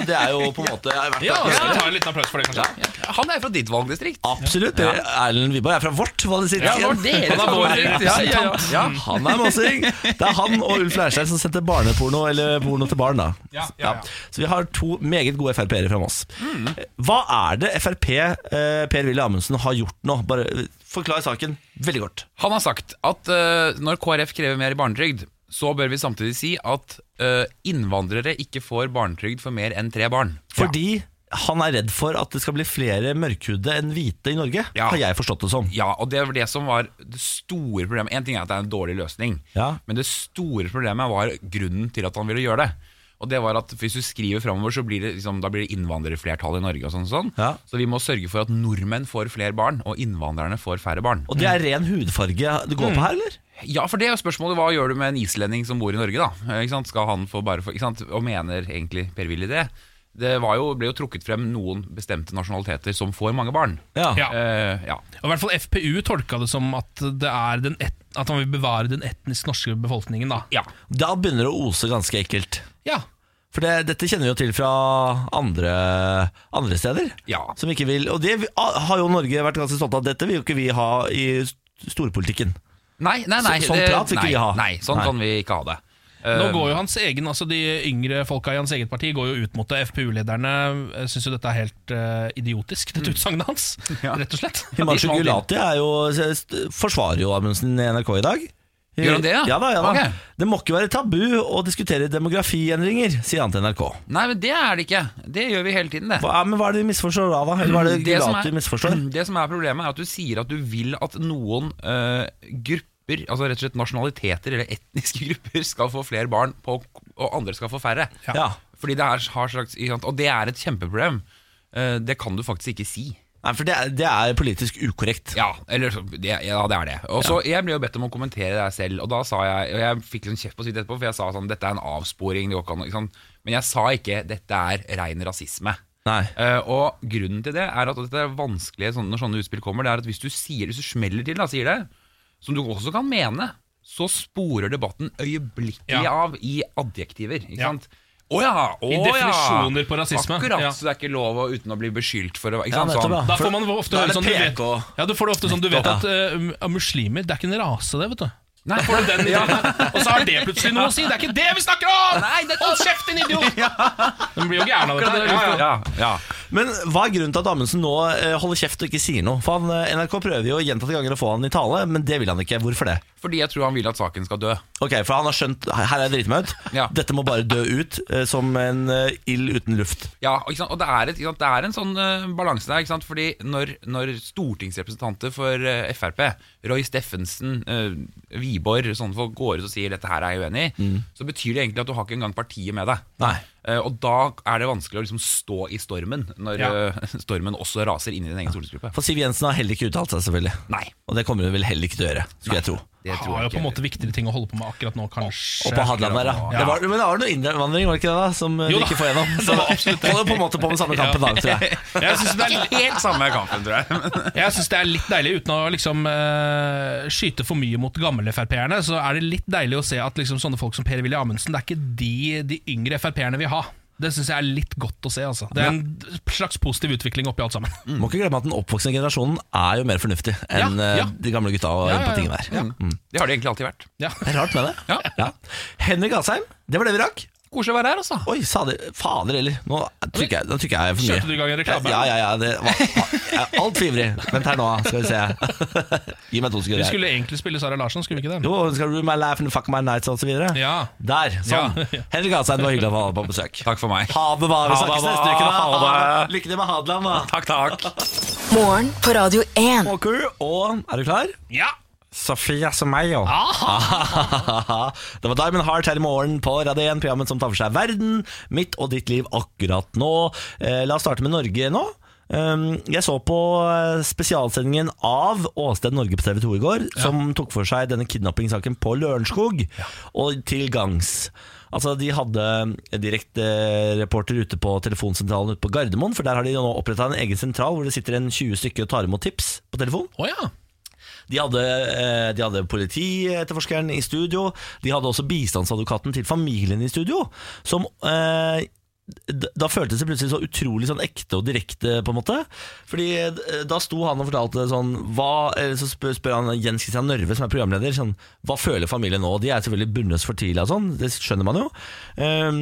[SPEAKER 2] det er jo på en måte verdt
[SPEAKER 3] Ja,
[SPEAKER 2] å-
[SPEAKER 3] skal vi ta en liten applaus for det, kanskje?
[SPEAKER 4] Han er jo fra ditt valgdistrikt.
[SPEAKER 2] Absolutt. Per Erlend Wiborg er fra vårt valgdistrikt.
[SPEAKER 4] Ja, det var
[SPEAKER 2] igjen.
[SPEAKER 4] deres
[SPEAKER 3] Han er vår
[SPEAKER 4] valgdistrikt. Ja, ja, ja.
[SPEAKER 2] Ja, han er mossing. Det er han og Ulf Leirstein som sendte barneporno eller porno til barn. da
[SPEAKER 3] Ja, ja, ja.
[SPEAKER 2] Så vi har to meget gode Frp-ere fra Moss. Hva er det Frp eh, Per Willy Amundsen har gjort nå? Bare eh, Forklar saken veldig godt.
[SPEAKER 4] Han har sagt at eh, når KrF krever mer i barnetrygd, så bør vi samtidig si at eh, innvandrere ikke får barnetrygd for mer enn tre barn.
[SPEAKER 2] Fordi han er redd for at det skal bli flere mørkhudde enn hvite i Norge,
[SPEAKER 4] Ja.
[SPEAKER 2] har jeg forstått det som.
[SPEAKER 4] Ja, og det var det som var det store problemet. En ting er at det er en dårlig løsning,
[SPEAKER 2] Ja.
[SPEAKER 4] men det store problemet var grunnen til at han ville gjøre det. Og det var at hvis du skriver framover, så blir det, liksom, da blir det innvandrerflertall i Norge. og sånn og sånn.
[SPEAKER 2] Ja.
[SPEAKER 4] Så vi må sørge for at nordmenn får flere barn, og innvandrerne får færre barn.
[SPEAKER 2] Og det er ren hudfarge det går på her, eller?
[SPEAKER 4] Ja, for det er jo spørsmålet, hva gjør du med en islending som bor i Norge, da? Eh, Ikke sant? Skal han få bare få, ikke sant? Og mener egentlig Per Willy det? Det var jo, ble jo trukket frem noen bestemte nasjonaliteter som får mange barn.
[SPEAKER 3] Ja.
[SPEAKER 4] Eh, ja.
[SPEAKER 3] Og i hvert fall FPU tolka det som at, det er den et, at han vil bevare den etnisk norske befolkningen. da
[SPEAKER 4] ja.
[SPEAKER 2] Da begynner det å ose ganske ekkelt.
[SPEAKER 4] Ja.
[SPEAKER 2] For det, dette kjenner vi jo til fra andre, andre steder.
[SPEAKER 4] Ja.
[SPEAKER 2] Som ikke vil, og det vi- har jo Norge vært ganske stolt av. Dette vil jo ikke vi ha i s- storpolitikken.
[SPEAKER 4] Nei, nei, nei.
[SPEAKER 2] Så- sånn prat vil ikke
[SPEAKER 4] nei,
[SPEAKER 2] vi ha.
[SPEAKER 4] Nei, sånn
[SPEAKER 2] Nei.
[SPEAKER 4] kan vi ikke ha det. Ehm.
[SPEAKER 3] Nå går jo hans egen, altså De yngre folka i hans eget parti går jo ut mot det. FpU-lederne eh, syns jo dette er helt eh, idiotisk, dette utsagnet hans. Rett og slett.
[SPEAKER 2] Himanshu
[SPEAKER 4] smalt inn.
[SPEAKER 2] Gulati er jo, s- forsvarer jo Amundsen i NRK i dag.
[SPEAKER 4] Gjør han det, ja?
[SPEAKER 2] Ja da, ja da.
[SPEAKER 4] Ok.
[SPEAKER 2] Det må ikke være tabu å diskutere demografiendringer, sier han til NRK.
[SPEAKER 4] Nei, men det er det ikke. Det gjør vi hele tiden, det.
[SPEAKER 2] Hva, ja, men hva er det vi misforstår da, da? Eller hva er det
[SPEAKER 4] Det som
[SPEAKER 2] Gulati
[SPEAKER 4] er-
[SPEAKER 2] misforstår?
[SPEAKER 4] Det som er problemet, er at du sier at du vil at noen eh, grupper, altså rett og slett nasjonaliteter eller etniske grupper, skal få flere barn, på, og andre skal få færre.
[SPEAKER 2] Ja.
[SPEAKER 4] Fordi det er, har slags, ikke sant? Og det er et kjempeproblem. Eh, Det kan du faktisk ikke si.
[SPEAKER 2] Nei, for det er, det er politisk ukorrekt.
[SPEAKER 4] Ja, eller, så- det, ja det er det. Og så Jeg ble jo bedt om å kommentere det selv, og da sa jeg Og jeg fikk litt kjeft på sitt etterpå, for jeg sa sånn Dette er en avsporing. Det går ikke an, å-» ikke sant? Men jeg sa ikke dette er rein rasisme.
[SPEAKER 2] Nei.
[SPEAKER 4] Eh, og grunnen til det er at og dette er vanskelig sånn, når sånne utspill kommer. Det er at Hvis du sier, hvis du smeller til, da, sier det, som du også kan mene, så sporer debatten øyeblikkelig
[SPEAKER 3] Ja.
[SPEAKER 4] av i adjektiver. Ikke
[SPEAKER 3] Ja.
[SPEAKER 4] sant? Å ja! Å
[SPEAKER 3] I definisjoner på rasisme.
[SPEAKER 4] Akkurat,
[SPEAKER 3] Ja.
[SPEAKER 4] så det er ikke lov å, uten å bli beskyldt for å ikke
[SPEAKER 2] Ja,
[SPEAKER 4] sant,
[SPEAKER 2] nettopp,
[SPEAKER 4] sånn.
[SPEAKER 2] ja.
[SPEAKER 3] Da
[SPEAKER 2] For-
[SPEAKER 3] får man ofte
[SPEAKER 2] da er
[SPEAKER 3] høre
[SPEAKER 2] det
[SPEAKER 3] sånn du vet,
[SPEAKER 2] PK.
[SPEAKER 3] Ja, du får det ofte sånn Du vet
[SPEAKER 2] Nettopp,
[SPEAKER 3] at eh, muslimer, det er ikke en rase, det, vet du.
[SPEAKER 4] Nei,
[SPEAKER 3] Da får du den ideen. Og så har det plutselig noe å si! Det er ikke det vi snakker om!
[SPEAKER 4] Nei, det-
[SPEAKER 3] Hold kjeft, din idiot! Den blir jo gæren av dette.
[SPEAKER 4] ja, ja, ja.
[SPEAKER 2] Men hva er grunnen til at Amundsen nå eh, holder kjeft og ikke sier noe? For han, eh, NRK prøver jo gjentatte ganger å få han i tale, men det vil han ikke. Hvorfor det?
[SPEAKER 4] Fordi jeg tror han vil at saken skal dø.
[SPEAKER 2] Ok, For han har skjønt her er jeg driti meg ut.
[SPEAKER 4] Ja.
[SPEAKER 2] Dette må bare dø ut eh, som en eh, ild uten luft.
[SPEAKER 4] Ja, og ikke sant? og det er, et, ikke sant? det er en sånn eh, balanse der. Ikke sant? Fordi når, når stortingsrepresentanter for eh, Frp, Roy Steffensen, eh, Wiborg, sånne folk går ut og sier dette her er jeg uenig i, så betyr det egentlig at du har ikke engang partiet med deg.
[SPEAKER 2] Nei.
[SPEAKER 4] Eh, og da er det vanskelig å liksom stå i stormen, når
[SPEAKER 3] Ja.
[SPEAKER 4] eh, stormen også raser inn i din egen stortingsgruppe.
[SPEAKER 2] For Siv Jensen har heller ikke uttalt seg, selvfølgelig.
[SPEAKER 4] Nei,
[SPEAKER 2] Og det kommer hun vel heller ikke til å gjøre, skulle jeg tro.
[SPEAKER 4] det tror
[SPEAKER 3] Har
[SPEAKER 4] jeg
[SPEAKER 3] jo på
[SPEAKER 4] ikke.
[SPEAKER 3] en måte viktigere ting å holde på med akkurat nå, kanskje.
[SPEAKER 2] Og på Hadeland der, ja.
[SPEAKER 3] Ja.
[SPEAKER 2] Det var, men det var noe innvandring, var det ikke det? da, Som eh,
[SPEAKER 3] Jo
[SPEAKER 2] vi
[SPEAKER 3] da.
[SPEAKER 2] ikke får gjennom. Så holder på en måte på med samme kampen da, tror jeg.
[SPEAKER 3] Jeg syns det, er-
[SPEAKER 4] Helt samme kampen, tror jeg. Men-
[SPEAKER 3] jeg synes det er litt deilig, uten å liksom eh, skyte for mye mot gamle Frp-erne, så er det litt deilig å se at liksom sånne folk som Per-Willy Amundsen, det er ikke de, de yngre Frp-erne vil ha. Det syns jeg er litt godt å se. altså Det er en slags positiv utvikling oppi alt sammen.
[SPEAKER 2] Må ikke glemme at den oppvoksende generasjonen er jo mer fornuftig enn
[SPEAKER 3] Ja, ja.
[SPEAKER 2] eh, de gamle gutta og
[SPEAKER 3] Ja, ja,
[SPEAKER 2] på tingene der.
[SPEAKER 4] Det har det egentlig alltid vært.
[SPEAKER 3] Ja.
[SPEAKER 2] Det er rart med det.
[SPEAKER 4] Ja.
[SPEAKER 2] Henrik Asheim, det var det vi rakk.
[SPEAKER 4] Koselig å være her, altså.
[SPEAKER 2] Oi, sa de, fader heller. Nå trykker jeg, nå trykker jeg for mye.
[SPEAKER 3] Kjørte du i gang en reklame?
[SPEAKER 2] Ja, ja, ja. Det var, jeg er altfor ivrig. Vent her nå, skal vi se. Gi meg to
[SPEAKER 3] Vi
[SPEAKER 2] sekunder. her.
[SPEAKER 3] skulle egentlig spille Sara Larsson, skulle vi ikke det?
[SPEAKER 2] Jo, skal du my life and fuck my nights og så videre?
[SPEAKER 3] Ja.
[SPEAKER 2] Der, sånn.
[SPEAKER 3] Ja.
[SPEAKER 2] Henrik Asheim, det var hyggelig å ha deg på besøk.
[SPEAKER 4] Takk for meg.
[SPEAKER 2] Ha det bra. Vi
[SPEAKER 4] Ha det
[SPEAKER 2] snakkes
[SPEAKER 4] bra.
[SPEAKER 2] neste uke. da
[SPEAKER 4] Ha det.
[SPEAKER 2] Lykke til med Hadeland, da.
[SPEAKER 4] Takk, takk.
[SPEAKER 1] Morgen på Radio 1.
[SPEAKER 2] Walker, og er du klar?
[SPEAKER 3] Ja!
[SPEAKER 2] Sofia som meg, jo. Ah. det var Diamond Heart her i morgen på Radio 1, programmet som tar for seg verden, mitt og ditt liv akkurat nå. Eh, la oss starte med Norge nå. Um, jeg så på eh, spesialsendingen av Åsted Norge på TV 2 i går, som tok for seg denne kidnappingssaken på Lørenskog, og til gangs. Altså, De hadde direktereporter ute på telefonsentralen ute på Gardermoen, for der har de nå oppretta en egen sentral hvor det sitter en 20 stykker og tar imot tips på telefon.
[SPEAKER 3] Å ja.
[SPEAKER 2] De hadde, eh, de hadde politietterforskeren i studio. De hadde også bistandsadvokaten til familien i studio. Som eh, d- Da føltes det plutselig så utrolig sånn ekte og direkte, på en måte. Fordi eh, da sto han og fortalte sånn hva, eller Så spør, spør han Jens Christian Nørve, som er programleder, sånn, hva føler familien nå? De er selvfølgelig bundet fortvila og sånn, det skjønner man jo. Ehm,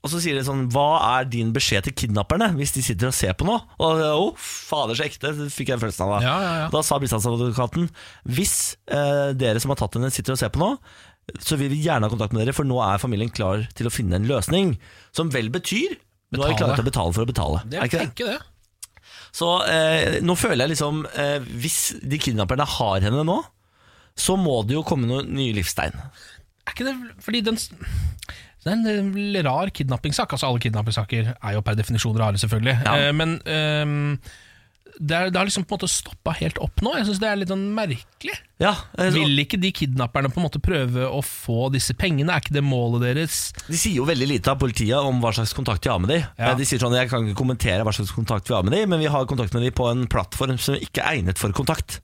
[SPEAKER 2] og så sier de sånn Hva er din beskjed til kidnapperne hvis de sitter og ser på noe? Og oh, fader, så ekte, fikk jeg følelsen av. Da,
[SPEAKER 3] Ja, ja, ja.
[SPEAKER 2] da sa bistandsadvokaten Hvis eh, dere som har tatt henne sitter og ser på nå Så vil vi gjerne ha kontakt med dere For nå er familien klar til å finne en løsning Som vel betyr Nå er vi
[SPEAKER 3] Betale.
[SPEAKER 2] klare til å betale for å betale
[SPEAKER 3] Det
[SPEAKER 2] Er
[SPEAKER 3] er
[SPEAKER 2] ikke det?
[SPEAKER 3] tenke det.
[SPEAKER 2] Så eh, nå føler jeg liksom eh, Hvis de kidnapperne har henne nå Så må det jo komme noen nye livstegn
[SPEAKER 3] Er ikke det fordi den det er en eh, rar kidnappingssak. Altså Alle kidnappingssaker er jo per definisjon rare, selvfølgelig.
[SPEAKER 2] Ja.
[SPEAKER 3] Eh, men ehm, det, er, det har liksom på en måte stoppa helt opp nå. Jeg syns det er litt sånn merkelig.
[SPEAKER 2] Ja, eh, så,
[SPEAKER 3] Vil ikke de kidnapperne på en måte prøve å få disse pengene? Er ikke det målet deres?
[SPEAKER 2] de sier jo veldig lite av politiet om hva slags kontakt de har med dem
[SPEAKER 3] Ja.
[SPEAKER 2] De sier sånn, jeg kan ikke kommentere hva slags kontakt vi har med dem Men vi har kontakt med dem på en plattform som ikke er egnet for kontakt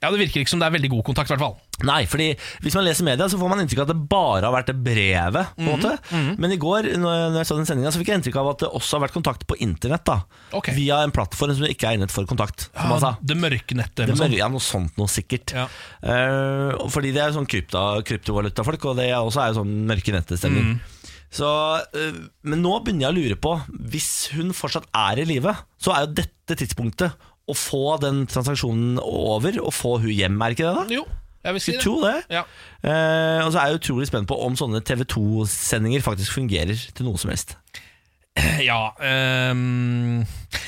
[SPEAKER 3] Ja, Det virker ikke som det er veldig god kontakt, i hvert fall.
[SPEAKER 2] Nei, fordi hvis man leser media, så får man inntrykk av at det bare har vært det brevet. på en
[SPEAKER 3] Mhm,
[SPEAKER 2] måte. Men i går når jeg- når jeg så den sendingen, så fikk jeg inntrykk av at det også har vært kontakt på internett. da.
[SPEAKER 3] Ok.
[SPEAKER 2] Via en plattform som ikke er egnet for kontakt, som han sa.
[SPEAKER 3] det mørke nettet.
[SPEAKER 2] Det
[SPEAKER 3] eller noe
[SPEAKER 2] mør- ja, noe sånt noe sikkert.
[SPEAKER 3] Ja.
[SPEAKER 2] Eh, og fordi det er jo sånn krypta, kryptovalutafolk, og det er også er jo sånn mørke nettestemning.
[SPEAKER 3] Mhm.
[SPEAKER 2] Så, eh, men nå begynner jeg å lure på Hvis hun fortsatt er i live, så er jo dette tidspunktet å få den transaksjonen over og få hun hjem, er ikke det? da?
[SPEAKER 3] sånt. Jo, jeg vil si
[SPEAKER 2] Skulle
[SPEAKER 3] det.
[SPEAKER 2] tro det.
[SPEAKER 3] Ja.
[SPEAKER 2] Eh, og så er jeg utrolig spent på om sånne TV 2-sendinger faktisk fungerer til noe som helst.
[SPEAKER 3] Ja ehm,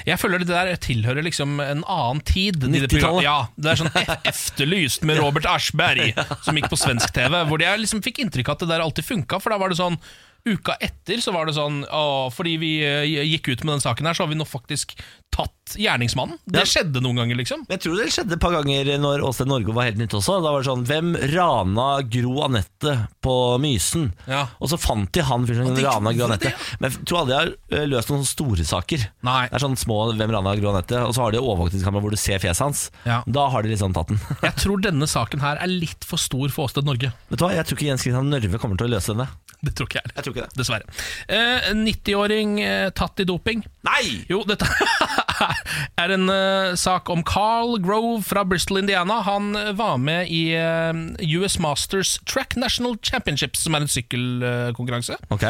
[SPEAKER 3] Jeg føler det der tilhører liksom en annen tid. de der
[SPEAKER 2] 90-tallet.
[SPEAKER 3] program- Ja, det er sånn ef- Efterlyst med Robert Aschberg, som gikk på svensk-TV. Hvor jeg liksom fikk inntrykk av at det der alltid funka, for da var det sånn Uka etter så var det sånn å, Fordi vi eh, gikk ut med den saken her, så har vi nå faktisk tatt gjerningsmannen. Det skjedde noen ganger, liksom.
[SPEAKER 2] Men jeg tror det skjedde et par ganger når Åsted Norge var helt nytt også. Da var det sånn Hvem rana Gro Anette på Mysen?
[SPEAKER 3] Ja.
[SPEAKER 2] Og så fant de han fyren som
[SPEAKER 3] de
[SPEAKER 2] rana Gro
[SPEAKER 3] gjorde
[SPEAKER 2] Anette.
[SPEAKER 3] det,
[SPEAKER 2] Men jeg tror aldri de har eh, løst noen sånne store saker.
[SPEAKER 3] Nei.
[SPEAKER 2] Det er sånn små Hvem rana Gro Anette? Og så har de overvåkningskamera hvor du ser fjeset hans.
[SPEAKER 3] Ja.
[SPEAKER 2] Da har de liksom tatt den.
[SPEAKER 3] Jeg tror denne saken her er litt for stor for Åsted Norge.
[SPEAKER 2] Vet du hva, jeg tror ikke Jens Christian Nørve kommer til å løse denne.
[SPEAKER 3] Det tror ikke jeg.
[SPEAKER 2] Jeg tror ikke det.
[SPEAKER 3] Dessverre. Eh, 90-åring eh, tatt i doping.
[SPEAKER 2] Nei!
[SPEAKER 3] Jo, dette er en eh, sak om Carl Grove fra Bristol, Indiana. Han eh, var med i eh, US Masters Track National Championships, som er en sykkelkonkurranse.
[SPEAKER 2] Ok.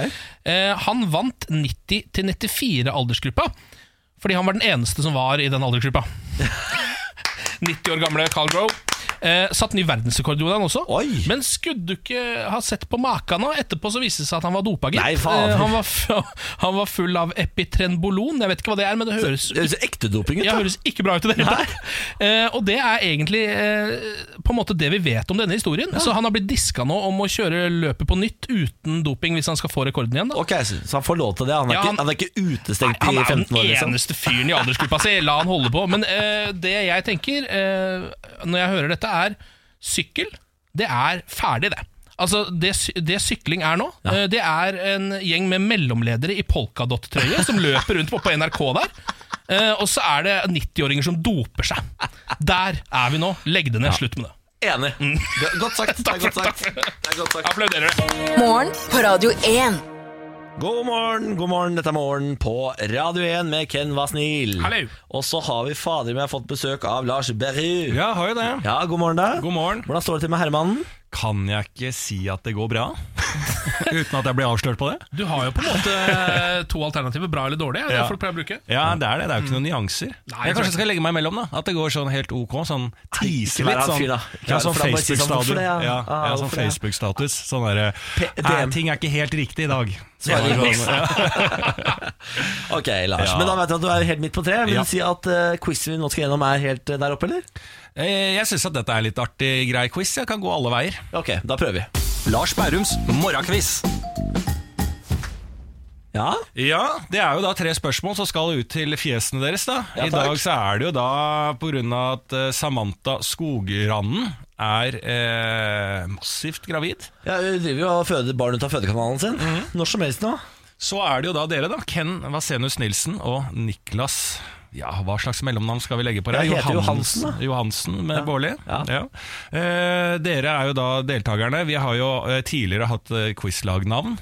[SPEAKER 3] Eh, han vant 90-94-aldersgruppa, fordi han var den eneste som var i den aldersgruppa. 90 år gamle Carl Grove. Eh, satt ny verdensrekord gjorde han også.
[SPEAKER 2] Oi.
[SPEAKER 3] Men skulle du ikke ha sett på maken nå? Etterpå så viste det seg at han var dopa, gitt.
[SPEAKER 2] Nei, faen.
[SPEAKER 3] Eh, han, var f han var full av epitrenbolon. Jeg vet ikke hva det er, men det høres
[SPEAKER 2] Det høres ekte doping ut.
[SPEAKER 3] ja,
[SPEAKER 2] da.
[SPEAKER 3] høres ikke bra ut i det hele tatt. Eh, og det er egentlig eh, på en måte det vi vet om denne historien. Så han har blitt diska nå om å kjøre løpet på nytt uten doping hvis han skal få rekorden igjen. da
[SPEAKER 2] Ok, så så han får lov til det. Han er,
[SPEAKER 3] Ja,
[SPEAKER 2] ikke,
[SPEAKER 3] han-
[SPEAKER 2] han er ikke
[SPEAKER 3] Nei,
[SPEAKER 2] utestengt
[SPEAKER 3] han
[SPEAKER 2] i
[SPEAKER 3] er jo
[SPEAKER 2] 15 år,
[SPEAKER 3] den
[SPEAKER 2] liksom.
[SPEAKER 3] eneste fyren i aldersgruppa si. La han holde på. Men eh, det jeg tenker eh, når jeg hører dette, er sykkel. Det er ferdig, det. Altså, Det, sy- det sykling er nå, eh, det er en gjeng med mellomledere i polkadott-trøye som løper rundt på, på NRK der. Eh, og så er det 90-åringer som doper seg. Der er vi nå. Legg det ned. Slutt med det.
[SPEAKER 2] Enig. Det er Godt sagt. Det er
[SPEAKER 3] Mm. Takk
[SPEAKER 2] godt
[SPEAKER 3] for-
[SPEAKER 2] sagt.
[SPEAKER 3] takk for-
[SPEAKER 2] Det er godt sagt.
[SPEAKER 3] Applauderer det.
[SPEAKER 1] Morgen på Radio 1.
[SPEAKER 2] God morgen, god morgen, dette er morgen på Radio 1 med Ken Vasnil.
[SPEAKER 3] Hallo.
[SPEAKER 2] Og så har vi fader meg fått besøk av Lars Berru.
[SPEAKER 5] Ja, har jo det.
[SPEAKER 2] Ja, god morgen da.
[SPEAKER 5] God morgen.
[SPEAKER 2] Hvordan står det til med herremannen?
[SPEAKER 5] Kan jeg ikke si at det går bra? Uten at jeg blir avslørt på det?
[SPEAKER 3] Du har jo på en måte eh, to alternativer, bra eller dårlig. Er det
[SPEAKER 5] Ja.
[SPEAKER 3] det folk pleier å bruke?
[SPEAKER 5] Ja, det er det. Det er jo ikke noen nyanser.
[SPEAKER 3] Nei,
[SPEAKER 5] jeg
[SPEAKER 3] tror
[SPEAKER 5] kanskje skal legge meg imellom, da. At det går sånn helt ok. Sånn
[SPEAKER 2] ikke
[SPEAKER 5] tise
[SPEAKER 2] være
[SPEAKER 5] litt.
[SPEAKER 2] han
[SPEAKER 5] Sånn,
[SPEAKER 2] fyr, da. Ikke
[SPEAKER 5] ja,
[SPEAKER 2] være-
[SPEAKER 5] sånn
[SPEAKER 2] for da må jeg si sånn, hvorfor
[SPEAKER 5] Facebook-status.
[SPEAKER 2] det, ja?
[SPEAKER 5] Ja,
[SPEAKER 2] Ah,
[SPEAKER 5] ja, sånn
[SPEAKER 2] hvorfor det, ja?
[SPEAKER 5] Facebook-status. Sånn derre
[SPEAKER 2] P-
[SPEAKER 5] «Nei,
[SPEAKER 2] DM.
[SPEAKER 5] Ting er ikke helt riktig i dag.
[SPEAKER 2] Svarer
[SPEAKER 5] Ja,
[SPEAKER 2] du
[SPEAKER 5] sånn, ja.
[SPEAKER 2] Ok, Lars.
[SPEAKER 5] Ja.
[SPEAKER 2] Men da vet du at du er helt midt på tre. Vil
[SPEAKER 5] Ja.
[SPEAKER 2] du si at eh, quizen vi nå skal gjennom er helt eh, der oppe, eller?
[SPEAKER 5] Eh, Jeg syns at dette er litt artig, grei quiz. Jeg kan gå alle veier.
[SPEAKER 2] Ok, da prøver vi.
[SPEAKER 5] Lars Bærums morgenquiz.
[SPEAKER 2] Ja,
[SPEAKER 5] Ja, det er jo da tre spørsmål som skal ut til fjesene deres. da
[SPEAKER 2] Ja,
[SPEAKER 5] I
[SPEAKER 2] takk.
[SPEAKER 5] dag så er det jo da på grunn av at eh, Samantha Skogranden er eh, massivt gravid.
[SPEAKER 2] ja Hun driver jo og føder barn ut av fødekanalen sin.
[SPEAKER 3] Mhm.
[SPEAKER 2] Når som helst nå.
[SPEAKER 5] Så er det jo da dere, da. Ken Vasenus Nilsen og Niklas ja, Hva slags mellomnavn skal vi legge på det?
[SPEAKER 2] Jeg heter
[SPEAKER 5] Johannes-
[SPEAKER 2] Johansen, da.
[SPEAKER 5] Johansen med Bårli.
[SPEAKER 2] Ja.
[SPEAKER 5] Ja. Eh, dere er jo da deltakerne. Vi har jo eh, tidligere hatt eh, quizlagnavn.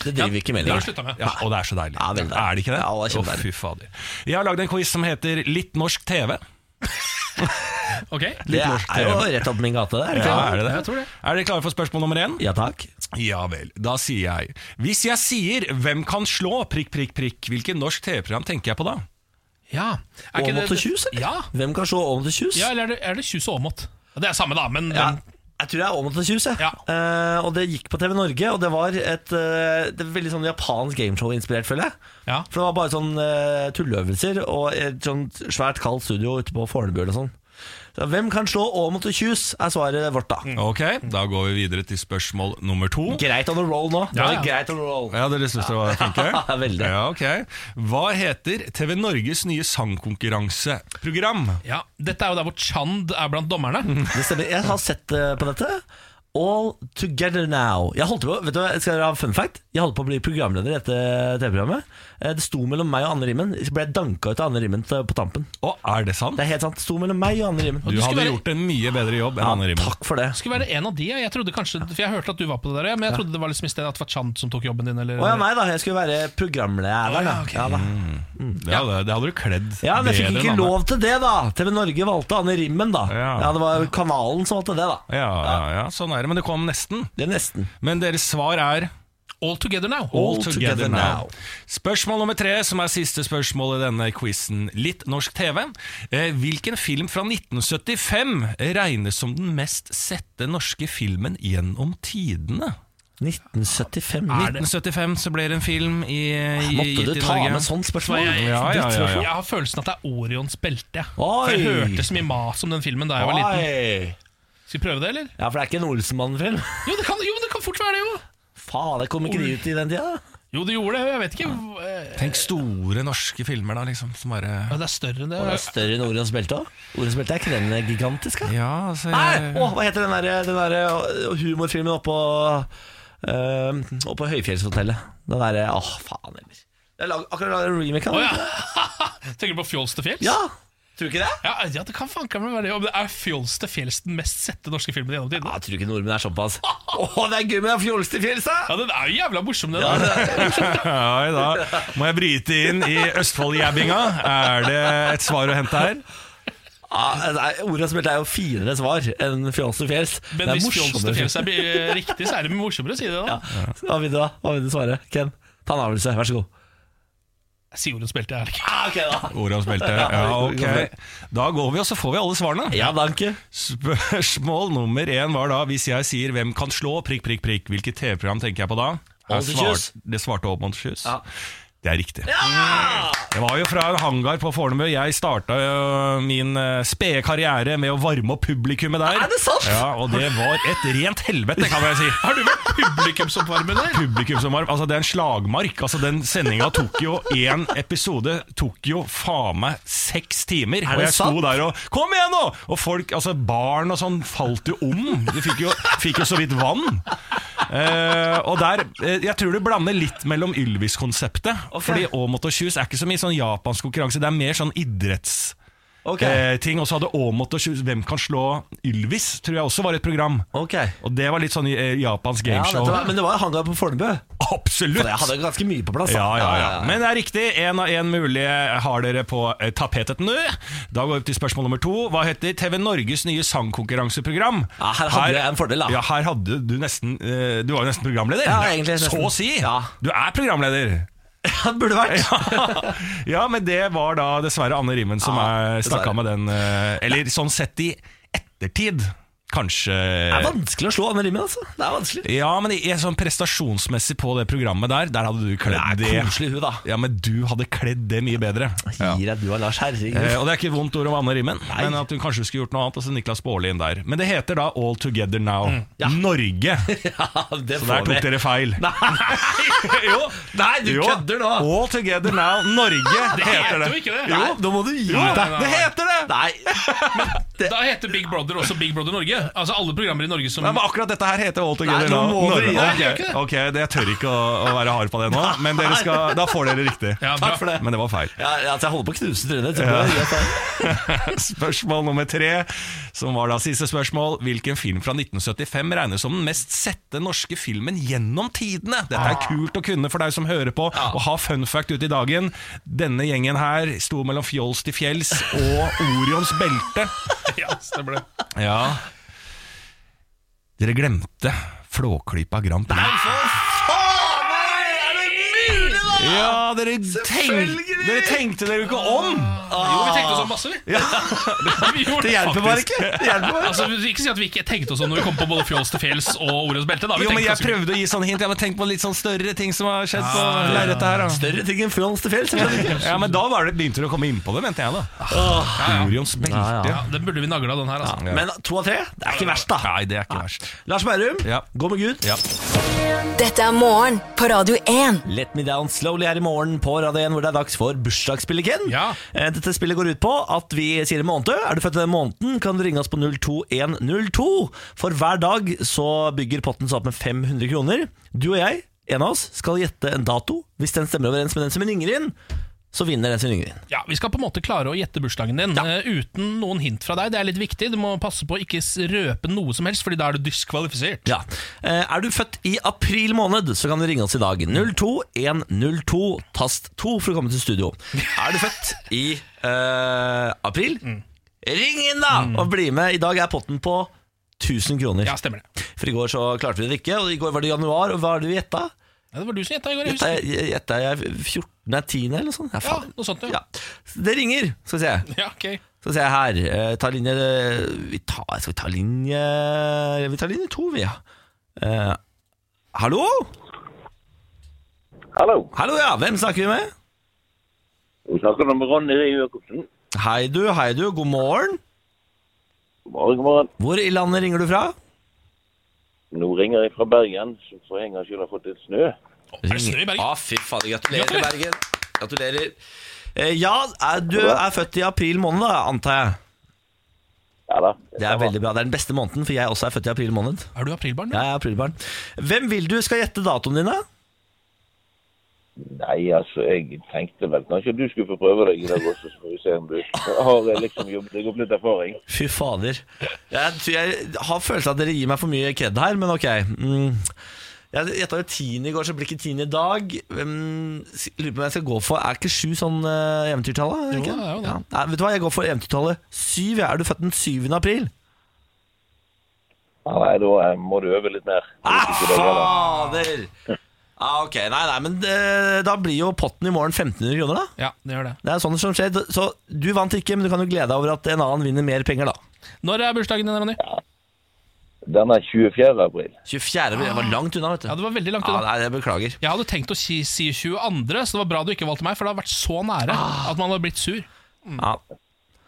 [SPEAKER 2] Det driver vi ikke med.
[SPEAKER 3] Det har
[SPEAKER 2] Lars.
[SPEAKER 3] vi slutta med.
[SPEAKER 5] Ja, og det er så deilig.
[SPEAKER 2] Ja, veldig deilig.
[SPEAKER 5] Er det ikke det?
[SPEAKER 2] Ja, det er
[SPEAKER 5] Å,
[SPEAKER 2] kjempedeilig.
[SPEAKER 5] fy fader. Jeg har lagd en quiz som heter Litt norsk TV.
[SPEAKER 3] Ok.
[SPEAKER 2] Det
[SPEAKER 5] norsk
[SPEAKER 2] er jo rett opp min gate der.
[SPEAKER 5] Ja,
[SPEAKER 2] ikke sant?
[SPEAKER 5] er det det?
[SPEAKER 3] Jeg tror det.
[SPEAKER 5] Er dere klare for spørsmål nummer én?
[SPEAKER 2] Ja takk.
[SPEAKER 5] Ja vel, da sier jeg Hvis jeg sier 'Hvem kan slå?' prikk, prikk, prikk, hvilket norsk TV-program tenker jeg på da?
[SPEAKER 3] Ja. Er ikke
[SPEAKER 2] Åmot og
[SPEAKER 3] det-
[SPEAKER 2] Kjus, eller?
[SPEAKER 3] Ja,
[SPEAKER 2] Hvem kan se Åmot og Kjus?
[SPEAKER 3] ja eller er det, er det Kjus og Åmot? Det er samme, da, men
[SPEAKER 2] Ja,
[SPEAKER 3] den-
[SPEAKER 2] jeg tror det er Åmot og Kjus, jeg.
[SPEAKER 3] Ja.
[SPEAKER 2] Eh, og det gikk på TV Norge, og det var et eh, det var veldig sånn japansk gameshow-inspirert, føler jeg.
[SPEAKER 3] ja.
[SPEAKER 2] For det var bare sånn eh, tulleøvelser og et sånt svært kaldt studio ute på Fornebu eller sånn. Så, hvem kan slå Åmot og Kjus, er svaret vårt,
[SPEAKER 3] Mm.
[SPEAKER 2] da.
[SPEAKER 5] Ok, da går vi videre til spørsmål nummer to.
[SPEAKER 2] Greit on a roll nå. Nå er det
[SPEAKER 3] ja.
[SPEAKER 2] greit on a roll.
[SPEAKER 5] Ja, dere syns det var flinke?
[SPEAKER 2] Veldig.
[SPEAKER 5] Ja, ok. Hva heter TV Norges nye sangkonkurranseprogram?
[SPEAKER 3] ja. Dette er jo der hvor Chand er blant dommerne.
[SPEAKER 2] Det stemmer. Jeg har sett eh, på dette. All together now. Jeg holdt på, vet du, hva, skal dere ha en fun fact? Jeg holdt på å bli programleder i dette TV-programmet. Eh, Det sto mellom meg og Anne Rimmen. Så ble jeg danka ut av Anne Rimmen til- på tampen.
[SPEAKER 5] Å, er det sant?
[SPEAKER 2] Det er helt sant. Det sto mellom meg og Anne Rimmen.
[SPEAKER 5] Du
[SPEAKER 3] Du skulle
[SPEAKER 5] hadde
[SPEAKER 3] være-
[SPEAKER 5] gjort en mye bedre jobb enn
[SPEAKER 2] Ja,
[SPEAKER 5] Anne Rimmen.
[SPEAKER 2] takk for det.
[SPEAKER 3] Skulle være en av de, ja. jeg trodde kanskje For jeg hørte at du var på det der, ja, men jeg trodde det var liksom i stedet at det var Chand som tok jobben din. Eller,
[SPEAKER 2] Å ja, nei da. Jeg skulle være programleder.
[SPEAKER 3] Å ja,
[SPEAKER 2] Da.
[SPEAKER 3] ok.
[SPEAKER 2] Ja, da.
[SPEAKER 5] Det hadde, det hadde du kledd
[SPEAKER 2] ja, men jeg fikk
[SPEAKER 5] bedre
[SPEAKER 2] ikke
[SPEAKER 5] enn Anne.
[SPEAKER 2] lov til det, da. TV Norge valgte Anne Rimmen, da.
[SPEAKER 5] Ja.
[SPEAKER 2] Ja, det var kanalen som valgte det, da.
[SPEAKER 5] Ja, ja, ja, sånn er det. Men det kom nesten.
[SPEAKER 2] Det er nesten.
[SPEAKER 5] Men deres svar er
[SPEAKER 3] All together now.
[SPEAKER 5] All together now. Spørsmål nummer tre, som er siste spørsmål i denne quizen. Litt norsk TV. Eh, hvilken film fra 1975 regnes som den mest sette norske filmen gjennom tidene?
[SPEAKER 2] 1975.
[SPEAKER 3] Er det-
[SPEAKER 5] 1975 så ble det en film i, i,
[SPEAKER 2] Måtte du
[SPEAKER 5] gitt i
[SPEAKER 2] ta
[SPEAKER 5] Norge.
[SPEAKER 2] med sånn- sånt
[SPEAKER 3] For
[SPEAKER 2] spørsmål?
[SPEAKER 3] jeg,
[SPEAKER 5] Ja, ja, ja,
[SPEAKER 3] Jeg
[SPEAKER 5] ja.
[SPEAKER 3] har følelsen at det er Orions belte. jeg.
[SPEAKER 2] Oi.
[SPEAKER 3] For Jeg hørte så mye mas om den filmen da jeg var liten.
[SPEAKER 2] Oi.
[SPEAKER 3] Skal vi prøve det, eller?
[SPEAKER 2] Ja, for det er ikke en Olsenmann-film.
[SPEAKER 3] Jo, det kan, jo, men det kan fort være det, jo!
[SPEAKER 2] faen, det kom ikke de ut i den tida?
[SPEAKER 3] Jo, det gjorde det. Jeg vet ikke. hva- eh,
[SPEAKER 5] Tenk store norske filmer, da, liksom. Som bare
[SPEAKER 3] Ja, det er større enn det.
[SPEAKER 2] Det er større enn Orions belte òg. Orions belte er ikke den gigantisk, da?
[SPEAKER 5] Ja, altså
[SPEAKER 2] Nei!
[SPEAKER 5] jeg,
[SPEAKER 2] Å, hva heter den der, den der øh, humorfilmen oppå øh, Oppå Høyfjellshotellet? Den derre Å, faen heller. Jeg lag, akkurat laget en remake av
[SPEAKER 3] Å
[SPEAKER 2] den.
[SPEAKER 3] ja. Tenker du på Fjols til fjells?
[SPEAKER 2] Ja! Tror du ikke det?
[SPEAKER 3] Ja, ja, det kan fanken meg være det. Om det er Fjols til fjells den mest sette norske filmen gjennom
[SPEAKER 2] Ja,
[SPEAKER 3] tidene?
[SPEAKER 2] jeg tror ikke nordmenn er såpass. Å, det er gøy med den fjolste fjells, da!
[SPEAKER 3] Ja, den er jo jævla morsom, den. der.
[SPEAKER 5] ja, da må jeg bryte inn i Østfoldjæbinga. Er det et svar å hente her?
[SPEAKER 2] Ja, nei, Orions belte er jo finere svar enn fjolste fjells.
[SPEAKER 3] Men
[SPEAKER 2] Det er
[SPEAKER 3] hvis
[SPEAKER 2] morsommere
[SPEAKER 3] Fjols til fjells er bi- riktig, så er det morsommere å si det. da
[SPEAKER 2] Ja. Hva vil du da? Hva vil du svare? Ken, ta en avgjørelse. Vær så god.
[SPEAKER 3] Sigurdens belte er det ikke.
[SPEAKER 2] Ah, ok da
[SPEAKER 5] Orions belte. Ja, ok. Da går vi, og så får vi alle svarene.
[SPEAKER 2] Ja, danke.
[SPEAKER 5] Spørsmål nummer én var da Hvis jeg sier 'Hvem kan slå?' prikk, prikk, prikk Hvilket TV-program tenker jeg på da? Her
[SPEAKER 2] Monty Shoes.
[SPEAKER 5] det svarte Old Monty Shoes.
[SPEAKER 2] Ja.
[SPEAKER 5] Det er riktig. Det var jo fra en hangar på Fornebu. Jeg starta jo min eh, spede karriere med å varme opp publikummet der.
[SPEAKER 2] Er det sant?
[SPEAKER 5] Ja, Og det var et rent helvete, kan jeg si.
[SPEAKER 3] Har du vært publikumsoppvarmer der?
[SPEAKER 5] Publikum som var, altså Det er en slagmark. Altså Den sendinga tok jo én episode Tok jo faen meg seks timer.
[SPEAKER 2] det
[SPEAKER 5] og jeg
[SPEAKER 2] sant?
[SPEAKER 5] sto der og Kom igjen, nå! Og folk, altså barn og sånn, falt jo om. De fikk jo, fikk jo så vidt vann. Eh, og der eh, Jeg tror du blander litt mellom Ylvis-konseptet.
[SPEAKER 2] Ok.
[SPEAKER 5] Fordi Aamodt og Kjus er ikke så mye sånn japansk konkurranse, det er mer sånn idrettsting.
[SPEAKER 2] Ok.
[SPEAKER 5] Eh, ting. og så hadde Aamodt og Kjus Hvem kan slå Ylvis? tror jeg også var et program.
[SPEAKER 2] Ok
[SPEAKER 5] Og det var litt sånn eh, japansk
[SPEAKER 2] ja,
[SPEAKER 5] gameshow.
[SPEAKER 2] dette var, Men det var hangar på Fornebu.
[SPEAKER 5] Absolutt!
[SPEAKER 2] For jeg hadde ganske mye på plass. da.
[SPEAKER 5] Ja, ja, ja. Men det er riktig. Én av én mulige har dere på eh, tapetet nå. Da går vi til spørsmål nummer to. Hva heter TV Norges nye sangkonkurranseprogram?
[SPEAKER 2] Ja, her hadde jeg en fordel, da.
[SPEAKER 5] Ja, her hadde du nesten eh, Du var jo nesten programleder.
[SPEAKER 2] Ja, egentlig nesten.
[SPEAKER 5] Så å si!
[SPEAKER 2] Ja.
[SPEAKER 5] Du er programleder.
[SPEAKER 2] det burde vært.
[SPEAKER 5] ja, men det var da dessverre Anne Rimmen som
[SPEAKER 2] Ja,
[SPEAKER 5] er stakk
[SPEAKER 2] dessverre.
[SPEAKER 5] av med den. eh, Eller sånn sett i ettertid, kanskje.
[SPEAKER 2] Det er vanskelig å slå Anne Rimmen, altså. Det er vanskelig.
[SPEAKER 5] Ja, men i, i sånn prestasjonsmessig på det programmet der, der hadde du
[SPEAKER 2] Det
[SPEAKER 5] kledd
[SPEAKER 2] er koselig hun, da.
[SPEAKER 5] Ja, men du hadde kledd det mye bedre.
[SPEAKER 2] Gir jeg du og Lars
[SPEAKER 5] Eh,
[SPEAKER 2] Herregud.
[SPEAKER 5] og det er ikke vondt ord om Anne Rimmen, men at hun kanskje skulle gjort noe annet. Og så Niklas Baarli inn der. Men det heter da All Together Now. Norge!
[SPEAKER 2] Ja, Mm. det
[SPEAKER 5] Så der tok dere feil.
[SPEAKER 2] Nei, jo. Nei, du
[SPEAKER 5] Jo,
[SPEAKER 2] kødder nå.
[SPEAKER 5] All Together Now Norge
[SPEAKER 3] Det heter
[SPEAKER 5] heter
[SPEAKER 3] jo
[SPEAKER 5] det.
[SPEAKER 3] ikke det.
[SPEAKER 2] Jo, nå må du gi
[SPEAKER 3] Nei,
[SPEAKER 2] deg.
[SPEAKER 3] nei,
[SPEAKER 5] Det
[SPEAKER 3] nei.
[SPEAKER 5] heter det!
[SPEAKER 2] Nei.
[SPEAKER 3] Da heter Big Brother også Big Brother Norge. Altså alle programmer i Norge som
[SPEAKER 5] Nei, men akkurat dette her heter All
[SPEAKER 2] Nei,
[SPEAKER 5] Together
[SPEAKER 2] nå
[SPEAKER 5] Now
[SPEAKER 2] må dere
[SPEAKER 5] Norge.
[SPEAKER 2] gi deg.
[SPEAKER 5] Ok, ok, det- jeg tør ikke å, å være hard på det nå, men dere skal, da får dere riktig.
[SPEAKER 3] Ja, bra.
[SPEAKER 2] Takk for det.
[SPEAKER 5] Men det var feil.
[SPEAKER 2] Ja, ja, altså, jeg holder på å knuse trynet. så det er greit, da.
[SPEAKER 5] Spørsmål nummer tre, som var da siste spørsmål. Hvilken film fra 1975 regnes som den mest sette norske filmen gjennom tidene? Dette er kult å kunne for deg som hører på, og ha fun fact ut i dagen. Denne gjengen her sto mellom Fjols til fjells og Orions belte.
[SPEAKER 3] Ja, stemmer det.
[SPEAKER 5] Ja Dere glemte Flåklypa Grand Prix. Nei, for faen! Er det mulig, da?! Ja, dere, tenk,
[SPEAKER 2] Selvfølgelig!
[SPEAKER 5] dere tenkte dere jo ikke om!
[SPEAKER 3] Jo, vi tenkte oss om masse, vi. vi gjorde
[SPEAKER 2] Ah. Det hjelper bare ikke. Det hjelper bare.
[SPEAKER 3] Altså, vi- ikke si at vi ikke tenkte oss om når vi kom på både Fjols til fjells og Orions belte. Da. Vi
[SPEAKER 5] Jo, men
[SPEAKER 3] tenkte
[SPEAKER 5] jeg
[SPEAKER 3] ganske mye.
[SPEAKER 5] prøvde å gi sånne hint. Jeg må tenke på litt sånn større ting som har skjedd på lerretet her. Da.
[SPEAKER 2] Større ting enn Fjols til fjells. jeg skjønner ikke.
[SPEAKER 5] Ja, men da var det, begynte du å komme innpå det, mente jeg da. Orions belte.
[SPEAKER 2] Ja,
[SPEAKER 3] ja, Den burde vi nagla, den her. Altså.
[SPEAKER 5] Ja.
[SPEAKER 2] Men to av tre, det er ikke verst, da.
[SPEAKER 5] Nei, det er ikke verst.
[SPEAKER 2] Lars Bærum,
[SPEAKER 5] Ja.
[SPEAKER 2] gå med Gud.
[SPEAKER 5] Ja.
[SPEAKER 1] Dette er morgen på Radio 1.
[SPEAKER 2] Let me down slowly her i morgen på Radio 1, hvor det er dags for bursdagsspillet, Ken.
[SPEAKER 3] Ja.
[SPEAKER 2] Eh, Dette spillet går ut på at vi sier en måned. Er du født i den måneden, kan du ringe oss på 02102. For hver dag så bygger potten seg opp med 500 kroner. Du og jeg, en av oss, skal gjette en dato. Hvis den stemmer overens med den som ringer inn, så vinner den som ringer inn.
[SPEAKER 3] Ja, Vi skal på en måte klare å gjette bursdagen din eh, uten noen hint fra deg. Det er litt viktig. Du må passe på å ikke s- røpe noe som helst, Fordi da er du diskvalifisert.
[SPEAKER 2] Ja. Eh, Er du født i april måned, så kan du ringe oss i dag. 02102 tast 2 for å komme til studio. Er du født i eh, april, ring inn da og bli med. I dag er potten på 1000 kroner.
[SPEAKER 3] Ja, stemmer det.
[SPEAKER 2] For i går så klarte vi det ikke, og i går var det januar, og hva er det vi gjetta?
[SPEAKER 3] Ja, det var du som gjetta i går. jeg
[SPEAKER 2] Gjetta
[SPEAKER 3] husker.
[SPEAKER 2] jeg gjetta jeg 14. er 10. eller noe sånt? Ja,
[SPEAKER 3] Ja,
[SPEAKER 2] faen.
[SPEAKER 3] noe sånt,
[SPEAKER 2] Ja.
[SPEAKER 3] ja.
[SPEAKER 2] Det ringer, skal vi se.
[SPEAKER 3] ja ok
[SPEAKER 2] Skal vi se her. eh, ta linje vi tar, Skal vi ta linje Vi tar linje to, vi, ja. Eh, hallo?
[SPEAKER 6] Hallo.
[SPEAKER 2] Hallo, ja. Hvem snakker vi med?
[SPEAKER 6] Vi snakker om Ronny Rie Jacobsen.
[SPEAKER 2] Hei du, hei du. God morgen.
[SPEAKER 6] God morgen, god morgen.
[SPEAKER 2] Hvor i landet ringer du fra?
[SPEAKER 6] Nå ringer jeg fra Bergen, som for en gangs skyld har fått litt snø.
[SPEAKER 3] Er det snø i Bergen?
[SPEAKER 2] Ah, fy fader, gratulerer,
[SPEAKER 3] Gratulerer.
[SPEAKER 2] Bergen. Gratulerer. Eh, ja, er, du er født i april måned, da, antar jeg.
[SPEAKER 6] Ja da.
[SPEAKER 2] Det er veldig bra. Det er den beste måneden, for jeg også er født i april måned.
[SPEAKER 3] Er du aprilbarn?
[SPEAKER 2] Jeg er aprilbarn. Hvem vil du skal gjette datoen dine?
[SPEAKER 6] Nei, altså, jeg tenkte vel kanskje du skulle få prøve deg i dag også, så får vi se om du har eh, liksom jobbet deg opp litt erfaring.
[SPEAKER 2] Fy fader. Jeg, tror jeg har følelsen av at dere gir meg for mye kred her, men ok. Mm. Jeg gjetta jo tiende i går, så blir ikke tiende i dag. Mm, s- lurer på om jeg skal gå for Er ikke sju sånn uh, eventyrtallet? er det
[SPEAKER 3] Jo,
[SPEAKER 2] ikke?
[SPEAKER 3] det er jo det.
[SPEAKER 2] Ja. Nei, vet du hva, jeg går for eventyrtallet syv. jeg. Er du født den 7. april?
[SPEAKER 6] Ja, nei, da eh, må du øve litt mer.
[SPEAKER 2] Ah,
[SPEAKER 6] Jeg vet ikke hva det er, da.
[SPEAKER 2] fader! Ah, ok, nei, nei, men eh, da blir jo potten i morgen 1500 kroner, da.
[SPEAKER 3] Ja, det gjør det.
[SPEAKER 2] Det er sånn som skjer. Så du vant ikke, men du kan jo glede deg over at en annen vinner mer penger, da.
[SPEAKER 3] Når er bursdagen din, Ronny?
[SPEAKER 6] Den er 24. april.
[SPEAKER 2] 24. april. Jeg var langt unna, vet du.
[SPEAKER 3] Ja, det var veldig langt
[SPEAKER 2] Ja,
[SPEAKER 3] unna.
[SPEAKER 2] nei, jeg beklager.
[SPEAKER 3] Jeg hadde tenkt å si, si 22., så det var bra du ikke valgte meg, for det har vært så nære at man har blitt sur.
[SPEAKER 2] Ja.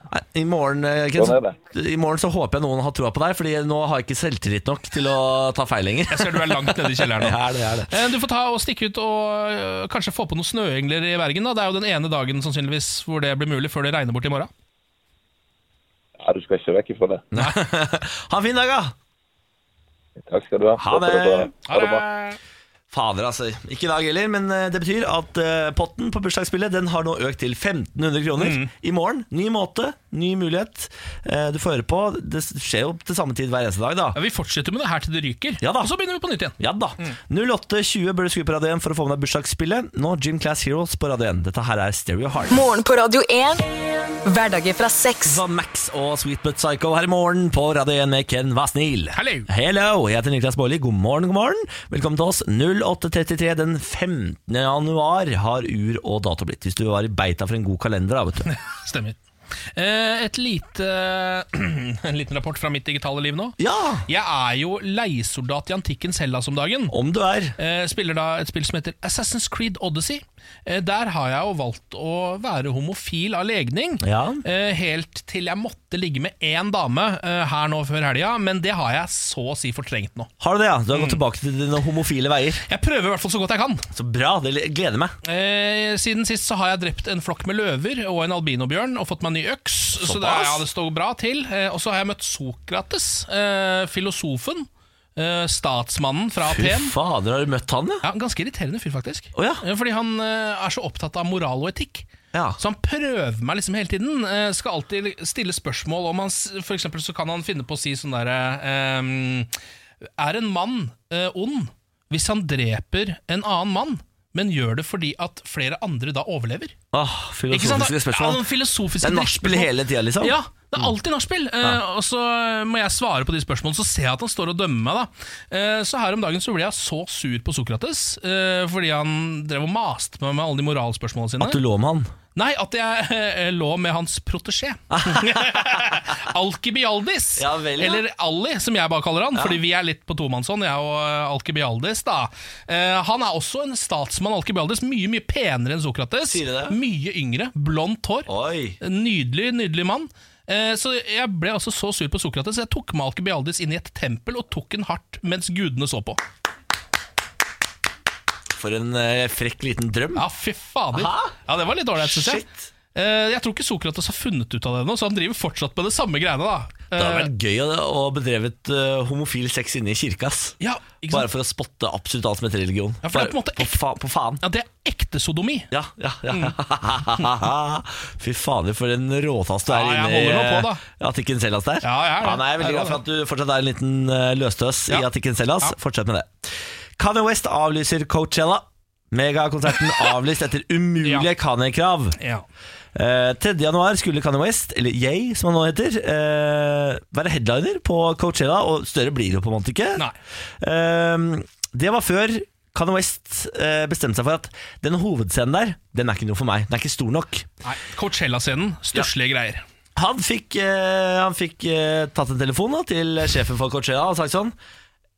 [SPEAKER 2] Nei, I morgen, eh, Ken,
[SPEAKER 6] Sånn er
[SPEAKER 2] så, I morgen så håper jeg noen har troa på deg, Fordi nå har jeg ikke selvtillit nok til å ta feil lenger.
[SPEAKER 3] Jeg ser du er langt nede i kjelleren nå.
[SPEAKER 2] Ja, det er det.
[SPEAKER 3] Eh, Du får ta og stikke ut og øh, kanskje få på noen snøengler i Bergen. da Det er jo den ene dagen sannsynligvis hvor det blir mulig, før det regner bort i morgen.
[SPEAKER 6] Ja, du skal ikke vekk ifra det.
[SPEAKER 2] Ha en fin dag, da!
[SPEAKER 6] Takk skal du ha.
[SPEAKER 2] Ha
[SPEAKER 6] Takk skal dere
[SPEAKER 2] det.
[SPEAKER 6] Ha det bra.
[SPEAKER 2] Fader, altså. Ikke i dag heller, men eh, det betyr at eh, potten på bursdagsspillet Den har nå økt til 1500 kroner. I morgen, ny måte, ny mulighet. Eh, Du får høre på. Det skjer jo til samme tid hver eneste dag, da.
[SPEAKER 3] Ja, vi fortsetter med det her til det ryker,
[SPEAKER 2] Ja da.
[SPEAKER 3] og så begynner vi på nytt igjen.
[SPEAKER 2] Ja da. 08.20 bør du skru på Radio 1 for å få med deg bursdagsspillet. Nå Gym Class Heroes på Radio 1. Dette her er Stereo Heart.
[SPEAKER 1] Morgen på Radio 1. Hverdager fra seks.
[SPEAKER 2] Van Max og Sweet But Psycho her i morgen på Radio 1 med Ken Vasnil.
[SPEAKER 3] Hello.
[SPEAKER 2] Hello, jeg heter Niklas Baarli. God morgen, god morgen. Velkommen til oss. 08.33 den 15. januar har ur og dato blitt. Hvis du var i beita for en god kalender, da, vet du.
[SPEAKER 3] Stemmer. Eh, Et lite, en liten rapport fra mitt digitale liv nå.
[SPEAKER 2] Ja,
[SPEAKER 3] Jeg er jo leiesoldat i antikkens Hellas om dagen.
[SPEAKER 2] om du er.
[SPEAKER 3] Eh, Spiller da et spill som heter Assassin's Creed Odyssey. Eh, Der har jeg jo valgt å være homofil av legning.
[SPEAKER 2] Ja.
[SPEAKER 3] Eh, Helt til jeg måtte ligge med én dame eh, her nå før helga, men det har jeg så å si fortrengt nå.
[SPEAKER 2] Har du det, ja? Du har
[SPEAKER 3] Mm.
[SPEAKER 2] gått tilbake til dine homofile veier.
[SPEAKER 3] Jeg prøver i hvert fall så godt jeg kan.
[SPEAKER 2] Så bra, det gleder meg.
[SPEAKER 3] Eh, siden sist så har jeg drept en flokk med løver og en albinobjørn og fått meg en ny øks. Så det,
[SPEAKER 2] Såpass?
[SPEAKER 3] ja, det står bra til. Eh, og så har jeg møtt Sokrates, eh, filosofen, eh, statsmannen fra
[SPEAKER 2] Fy
[SPEAKER 3] Aten.
[SPEAKER 2] fader, har du møtt han, ja?
[SPEAKER 3] Ja, ganske irriterende fyr, faktisk.
[SPEAKER 2] Å, ja.
[SPEAKER 3] Eh, Fordi han eh, er så opptatt av moral og etikk.
[SPEAKER 2] Ja.
[SPEAKER 3] Så han prøver meg liksom hele tiden. Eh, skal alltid stille spørsmål om han s- For eksempel så kan han finne på å si sånn derre eh, Er en mann eh, ond hvis han dreper en annen mann, men gjør det fordi at flere andre da overlever?
[SPEAKER 2] Åh,
[SPEAKER 3] Ikke sant?
[SPEAKER 2] filosofiske
[SPEAKER 3] Ja,
[SPEAKER 2] spørsmål.
[SPEAKER 3] noen filosofiske
[SPEAKER 2] Det er nachspiel
[SPEAKER 3] drittspørsmål.
[SPEAKER 2] hele tida, liksom?
[SPEAKER 3] Ja, det er alltid nachspiel. Eh, og så må jeg svare på de spørsmålene, så ser jeg at han står og dømmer meg. da. Eh, så her om dagen så ble jeg så sur på Sokrates, eh, fordi han drev og maste meg med alle de moralspørsmålene sine.
[SPEAKER 2] At du lå med han?
[SPEAKER 3] Nei, at jeg eh, lå med hans protesjé. Alkibialdis.
[SPEAKER 2] Ja vel, ja.
[SPEAKER 3] Eller Ali, som jeg bare kaller han, fordi vi er litt på tomannshånd, jeg og eh, Alkibialdis. da. Eh, han er også en statsmann, Alkibialdis. Mye mye penere enn Sokrates.
[SPEAKER 2] Sier du det?
[SPEAKER 3] Mye yngre. Blondt hår.
[SPEAKER 2] Oi.
[SPEAKER 3] Nydelig, nydelig mann. Eh, Så Jeg ble altså så sur på Sokrates, jeg tok med Alkibialdis inn i et tempel og tok den hardt mens gudene så på.
[SPEAKER 2] For en eh, frekk liten drøm.
[SPEAKER 3] Ja, fy fader.
[SPEAKER 2] Hæ?
[SPEAKER 3] Ja, Det var litt ålreit, syns jeg.
[SPEAKER 2] Shit.
[SPEAKER 3] Eh, Jeg tror ikke Sokrates har funnet ut av det ennå, så han driver fortsatt med det samme greiene. da
[SPEAKER 2] Det hadde
[SPEAKER 3] Eh,
[SPEAKER 2] vært gøy å- å bedrevet eh, homofil sex inne i kirka. ass.
[SPEAKER 3] Eh, ja, ikke
[SPEAKER 2] Bare
[SPEAKER 3] sant?
[SPEAKER 2] for å spotte absolutt alt som heter religion.
[SPEAKER 3] Ja, for det er på en måte
[SPEAKER 2] Bare- på, fa på faen.
[SPEAKER 3] Ja, Det er ekte sodomi.
[SPEAKER 2] Ja, ja, ja. Fy fader, for en råtass du er
[SPEAKER 3] Mm. Ja, jeg
[SPEAKER 2] inne i
[SPEAKER 3] holder nå på, da.
[SPEAKER 2] eh, Atikken Sellas der.
[SPEAKER 3] Ja, jeg er det.
[SPEAKER 2] nei, jeg er veldig
[SPEAKER 3] Jeg er
[SPEAKER 2] glad for at du fortsatt er en liten eh, løstøs i
[SPEAKER 3] Ja.
[SPEAKER 2] Atikken Sellas.
[SPEAKER 3] Ja.
[SPEAKER 2] Fortsett med det. Kanye West avlyser Coachella. Megakonserten avlyst etter umulige Kanye-krav.
[SPEAKER 3] Ja.
[SPEAKER 2] Eh, 3. januar skulle Kanye West, eller Yay som han nå heter, eh, være headliner på Coachella, og større blir det jo på en måte ikke.
[SPEAKER 3] Nei.
[SPEAKER 2] Eh, det var før Kanye West eh, bestemte seg for at den hovedscenen der, den er ikke noe for meg. Den er ikke stor nok.
[SPEAKER 3] Nei, Coachella-scenen. Stusslige greier.
[SPEAKER 2] Han fikk, eh, han fikk eh, tatt en telefon da, til sjefen for Coachella og sagt sånn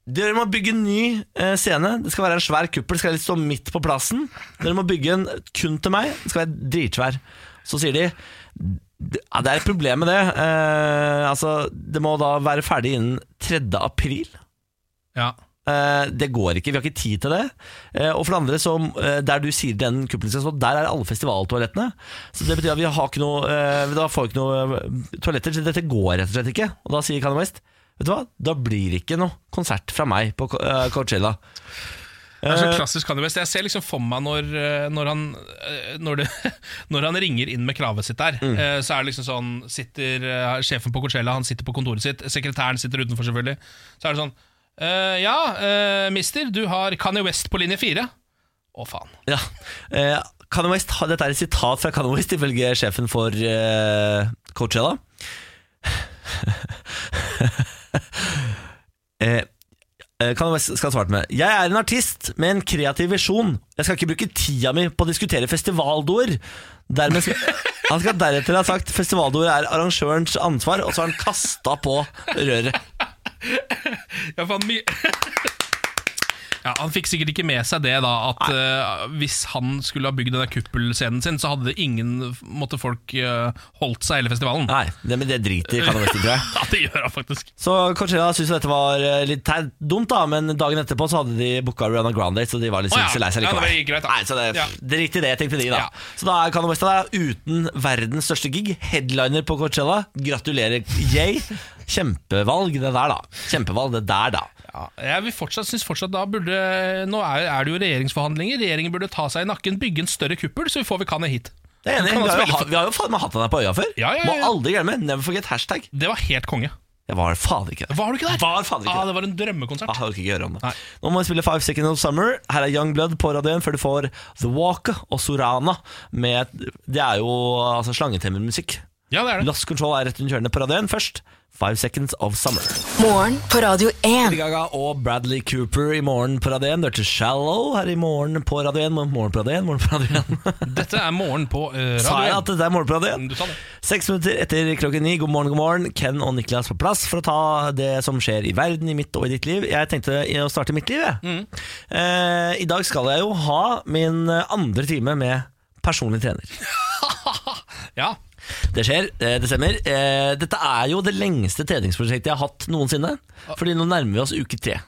[SPEAKER 2] dere må bygge en ny eh, scene. Det skal være en svær kuppel. Det skal stå midt på plassen. Dere må bygge en kun til meg. Den skal være dritsvær. Så sier de "D- ja, Det er et problem med det. Eh, altså, det må da være ferdig innen 3. april.
[SPEAKER 3] Ja.
[SPEAKER 2] Eh, Det går ikke, vi har ikke tid til det. Eh, Og for det andre, som, eh, der du sier den kuppelen skal stå, der er alle festivaltoalettene. Så det betyr at vi har ikke noe eh, Da får vi ikke noe eh, toaletter, så dette går rett og slett ikke. Og da sier Kanye West Vet du hva, da blir det ikke noe konsert fra meg på Co- eh, Coachella.
[SPEAKER 3] Det er så klassisk Kanye West. Jeg ser liksom for meg når, eh, når, han, eh, når, det, når han ringer inn med kravet sitt der, eh, så er det liksom sånn sitter, eh, Sjefen på Coachella han sitter på kontoret sitt, sekretæren sitter utenfor, selvfølgelig. Så er det sånn eh, Ja, eh, mister, du har Kanye West på linje fire. Å, faen.
[SPEAKER 2] Ja. Eh, Kanye West, har- dette er et sitat fra Kanye West ifølge sjefen for eh, Coachella. eh, eh, Kanye West skal ha svart med Jeg er en artist med en kreativ visjon. Jeg skal ikke bruke tida mi på å diskutere festivaldoer. Dermed skal han skal deretter ha sagt festivaldoer er arrangørens ansvar, og så har han kasta på røret.
[SPEAKER 3] Ja, for han, ja, han fikk sikkert ikke med seg det, da. At eh, hvis han skulle ha bygd denne kuppelscenen sin, så hadde det ingen måtte folk eh, holdt seg hele festivalen.
[SPEAKER 2] Nei, det, men det driter Kanye West i, tror jeg.
[SPEAKER 3] Ja, det gjør han faktisk.
[SPEAKER 2] Så Coachella syntes jo dette var eh, litt teit- dumt, da men dagen etterpå så hadde de booka Rihanna Grande, så de var litt
[SPEAKER 3] Å, ja.
[SPEAKER 2] sinnssykt lei seg
[SPEAKER 3] Ja, det
[SPEAKER 2] likevel.
[SPEAKER 3] var greit, da.
[SPEAKER 2] Nei, så det,
[SPEAKER 3] Ja.
[SPEAKER 2] det er riktig det, tenkte de, da.
[SPEAKER 3] Ja.
[SPEAKER 2] Så da er Kanye West da uten verdens største gig, headliner på Coachella. Gratulerer, yay. Kjempevalg, det der, da. Kjempevalg, det der, da.
[SPEAKER 3] Ja, jeg vil fortsatt, synes fortsatt da burde Nå er, er det jo regjeringsforhandlinger. Regjeringen burde ta seg i nakken, bygge en større kuppel, så vi får vi Kanye hit.
[SPEAKER 2] Det er jeg enig. i. Vi har
[SPEAKER 3] Kan han
[SPEAKER 2] jo,
[SPEAKER 3] spille
[SPEAKER 2] ha-
[SPEAKER 3] for-
[SPEAKER 2] vi har jo faen meg hatt han her på øya før.
[SPEAKER 3] Ja, ja, ja, ja.
[SPEAKER 2] Må aldri glemme. Never forget hashtag.
[SPEAKER 3] Det var helt konge.
[SPEAKER 2] Jeg var fader ikke det.
[SPEAKER 3] Var du ikke der?
[SPEAKER 2] Var fader ikke
[SPEAKER 3] ah,
[SPEAKER 2] det.
[SPEAKER 3] det var en drømmekonsert.
[SPEAKER 2] Ah, jeg orker ikke høre om det.
[SPEAKER 3] Nei.
[SPEAKER 2] Nå må vi spille Five Seconds of Summer. Her er Young Blood på radioen før du får The Walk og Sorana. Med, det er jo altså, slangetemmermusikk.
[SPEAKER 3] Ja, det er det.
[SPEAKER 2] Lost Control er rett rundt hjørnet på radioen først. Five Seconds of Summer.
[SPEAKER 1] Morgen på Radio 1.
[SPEAKER 2] Lady Gaga og Bradley Cooper i morgen på radioen. Dirty Shallow her i morgen på radioen. Morgen på radioen, morgen på radioen.
[SPEAKER 3] Dette er morgen på eh,
[SPEAKER 2] Sa jeg at
[SPEAKER 3] radioen.
[SPEAKER 2] det er morgen på radioen?
[SPEAKER 3] Du sa det.
[SPEAKER 2] Seks minutter etter klokken ni, god morgen, god morgen. Ken og Niklas på plass for å ta det som skjer i verden, i mitt og i ditt liv. Jeg tenkte å starte mitt liv, jeg. Eh, I dag skal jeg jo ha min andre time med personlig trener.
[SPEAKER 3] Ja.
[SPEAKER 2] Det skjer, eh, det stemmer. Eh, Dette er jo det lengste treningsprosjektet jeg har hatt noensinne. Fordi nå nærmer vi oss uke tre.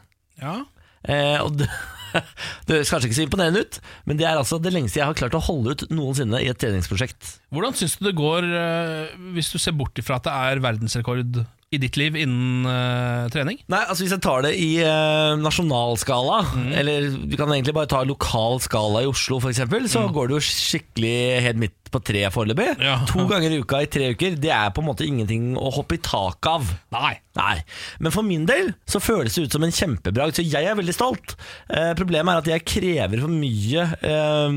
[SPEAKER 3] ja.
[SPEAKER 2] Eh, og det, det høres kanskje ikke så imponerende ut, men det er altså det lengste jeg har klart å holde ut noensinne i et treningsprosjekt.
[SPEAKER 3] Hvordan syns du det går eh, hvis du ser bort ifra at det er verdensrekord i ditt liv innen eh, trening?
[SPEAKER 2] Nei, altså Hvis jeg tar det i eh, nasjonalskala,
[SPEAKER 3] Mm.
[SPEAKER 2] eller vi kan egentlig bare ta lokal skala i Oslo f.eks., så går det jo skikkelig helt midt på treet foreløpig.
[SPEAKER 3] Mm. Ja.
[SPEAKER 2] To ganger i uka i tre uker, det er på en måte ingenting å hoppe i taket av.
[SPEAKER 3] Nei.
[SPEAKER 2] Nei, men for min del så føles det ut som en kjempebragd, så jeg er veldig stolt. Eh, problemet er at jeg krever for mye eh,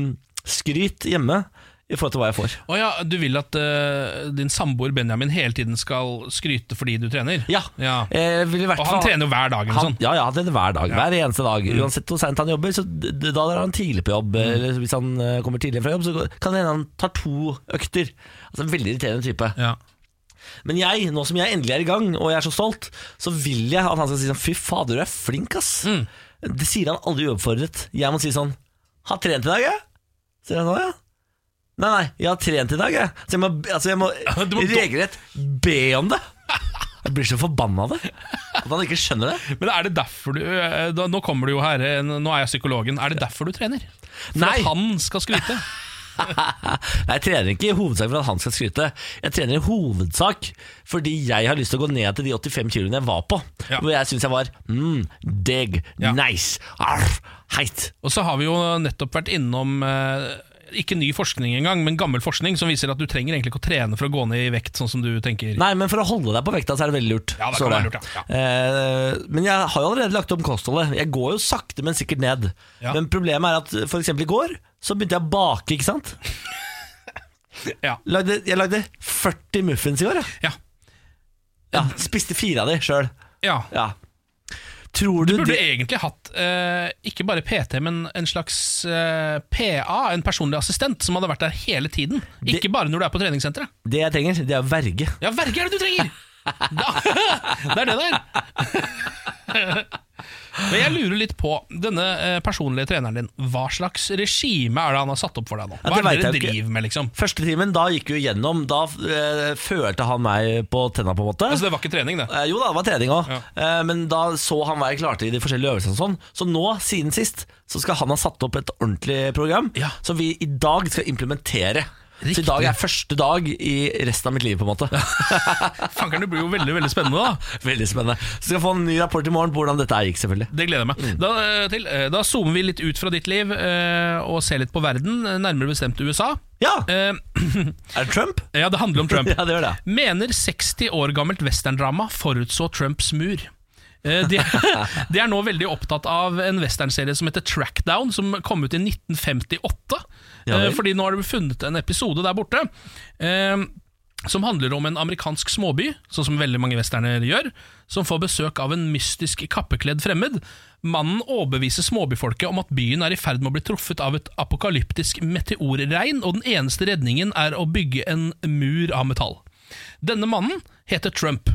[SPEAKER 2] skryt hjemme i forhold til hva jeg får.
[SPEAKER 3] Å ja, du vil at eh, din samboer Benjamin hele tiden skal skryte fordi du trener?
[SPEAKER 2] Ja,
[SPEAKER 3] Ja.
[SPEAKER 2] Eh, vil i hvert
[SPEAKER 3] Og han
[SPEAKER 2] fall-
[SPEAKER 3] trener jo hver dag eller
[SPEAKER 2] Han,
[SPEAKER 3] sånn.
[SPEAKER 2] ja, ja, det er det hver dag. Hver eneste dag.
[SPEAKER 3] Mm.
[SPEAKER 2] Uansett hvor seint han jobber, så d- d- da er han tidlig på jobb. Eller hvis han eh, kommer tidlig fra jobb, så går- kan det hende han tar to økter. Altså En veldig irriterende type.
[SPEAKER 3] Ja.
[SPEAKER 2] Men jeg, nå som jeg endelig er i gang, og jeg er så stolt, så vil jeg at han skal si sånn Fy fader, du er flink, ass.
[SPEAKER 3] Mm.
[SPEAKER 2] Det sier han aldri uoppfordret. Jeg må si sånn Har trent i dag, jeg. Sier han nå, ja. Nei, nei, jeg har trent i dag, jeg. Så jeg må, altså, jeg må,
[SPEAKER 3] du må-
[SPEAKER 2] regelrett be om det. Jeg blir så forbanna av det. At han ikke skjønner det.
[SPEAKER 3] Men er det derfor du eh, da, Nå kommer du jo her, eh, nå er jeg psykologen. Er det derfor du trener? For
[SPEAKER 2] Nei.
[SPEAKER 3] at han skal skryte?
[SPEAKER 2] Nei, Jeg trener ikke i hovedsak for at han skal skryte. Jeg trener i hovedsak fordi jeg har lyst til å gå ned til de 85 kiloene jeg var på.
[SPEAKER 3] Ja.
[SPEAKER 2] Hvor jeg syns jeg var mm, digg,
[SPEAKER 3] Ja.
[SPEAKER 2] nice, arr, heit.
[SPEAKER 3] Og så har vi jo nettopp vært innom eh, ikke ny forskning engang, men gammel forskning som viser at du trenger egentlig ikke å trene for å gå ned i vekt, sånn som du tenker.
[SPEAKER 2] Nei, men for å holde deg på vekta så er det veldig lurt.
[SPEAKER 3] Ja, det
[SPEAKER 2] Så
[SPEAKER 3] kan være lurt, ja.
[SPEAKER 2] Eh, men jeg har jo allerede lagt om kostholdet. Jeg går jo sakte, men sikkert ned.
[SPEAKER 3] Ja.
[SPEAKER 2] Men problemet er at for eksempel i går så begynte jeg å bake, ikke sant?
[SPEAKER 3] Ja.
[SPEAKER 2] Lagde, jeg lagde 40 muffins i går. jeg.
[SPEAKER 3] Ja.
[SPEAKER 2] Ja, spiste fire av de sjøl.
[SPEAKER 3] ja.
[SPEAKER 2] Ja. Tror du,
[SPEAKER 3] Burde
[SPEAKER 2] det
[SPEAKER 3] egentlig hatt eh, ikke bare PT, men en slags eh, PA, en personlig assistent, som hadde vært der hele tiden. Ikke bare når du er på treningssenteret.
[SPEAKER 2] Det jeg trenger, det er verge.
[SPEAKER 3] Ja, verge er det du trenger! Da, det er det der. Men jeg lurer litt på denne eh, personlige treneren din. Hva slags regime er det han har satt opp for deg nå?
[SPEAKER 2] Ja,
[SPEAKER 3] Hva
[SPEAKER 2] det
[SPEAKER 3] er det
[SPEAKER 2] vet
[SPEAKER 3] dere
[SPEAKER 2] jeg jo ikke.
[SPEAKER 3] driver med, liksom?
[SPEAKER 2] Første timen, da gikk vi jo gjennom. Da eh, følte han meg på tenna, på en måte.
[SPEAKER 3] Altså, det var ikke trening, det.
[SPEAKER 2] Eh, jo da, det var trening òg,
[SPEAKER 3] Ja.
[SPEAKER 2] eh, men da så han hva jeg klarte i de forskjellige øvelsene. og Sånn. Så nå, siden sist, så skal han ha satt opp et ordentlig program
[SPEAKER 3] Ja.
[SPEAKER 2] som vi i dag skal implementere. Så
[SPEAKER 3] Riktig.
[SPEAKER 2] i dag er første dag i resten av mitt liv, på en måte.
[SPEAKER 3] Fankeren, det blir jo veldig veldig spennende, da.
[SPEAKER 2] Veldig spennende. Så skal jeg få en ny rapport i morgen på hvordan dette her gikk, selvfølgelig.
[SPEAKER 3] Det gleder jeg meg da, eh, til. Eh, Da zoomer vi litt ut fra ditt liv eh, og ser litt på verden, eh, nærmere bestemt USA.
[SPEAKER 2] Ja,
[SPEAKER 3] Eh,
[SPEAKER 2] er det Trump?
[SPEAKER 3] ja, det handler om Trump.
[SPEAKER 2] Ja, det gjør det.
[SPEAKER 3] Mener 60 år gammelt westerndrama forutså Trumps mur. Eh, De, de er nå veldig opptatt av en westernserie som heter Trackdown, som kom ut i 1958.
[SPEAKER 2] Ja vel.
[SPEAKER 3] Eh, Fordi nå har de funnet en episode der borte. eh, Som handler om en amerikansk småby, sånn som veldig mange westerner gjør, som får besøk av en mystisk kappekledd fremmed. Mannen overbeviser småbyfolket om at byen er i ferd med å bli truffet av et apokalyptisk meteorregn, og den eneste redningen er å bygge en mur av metall. Denne mannen heter Trump.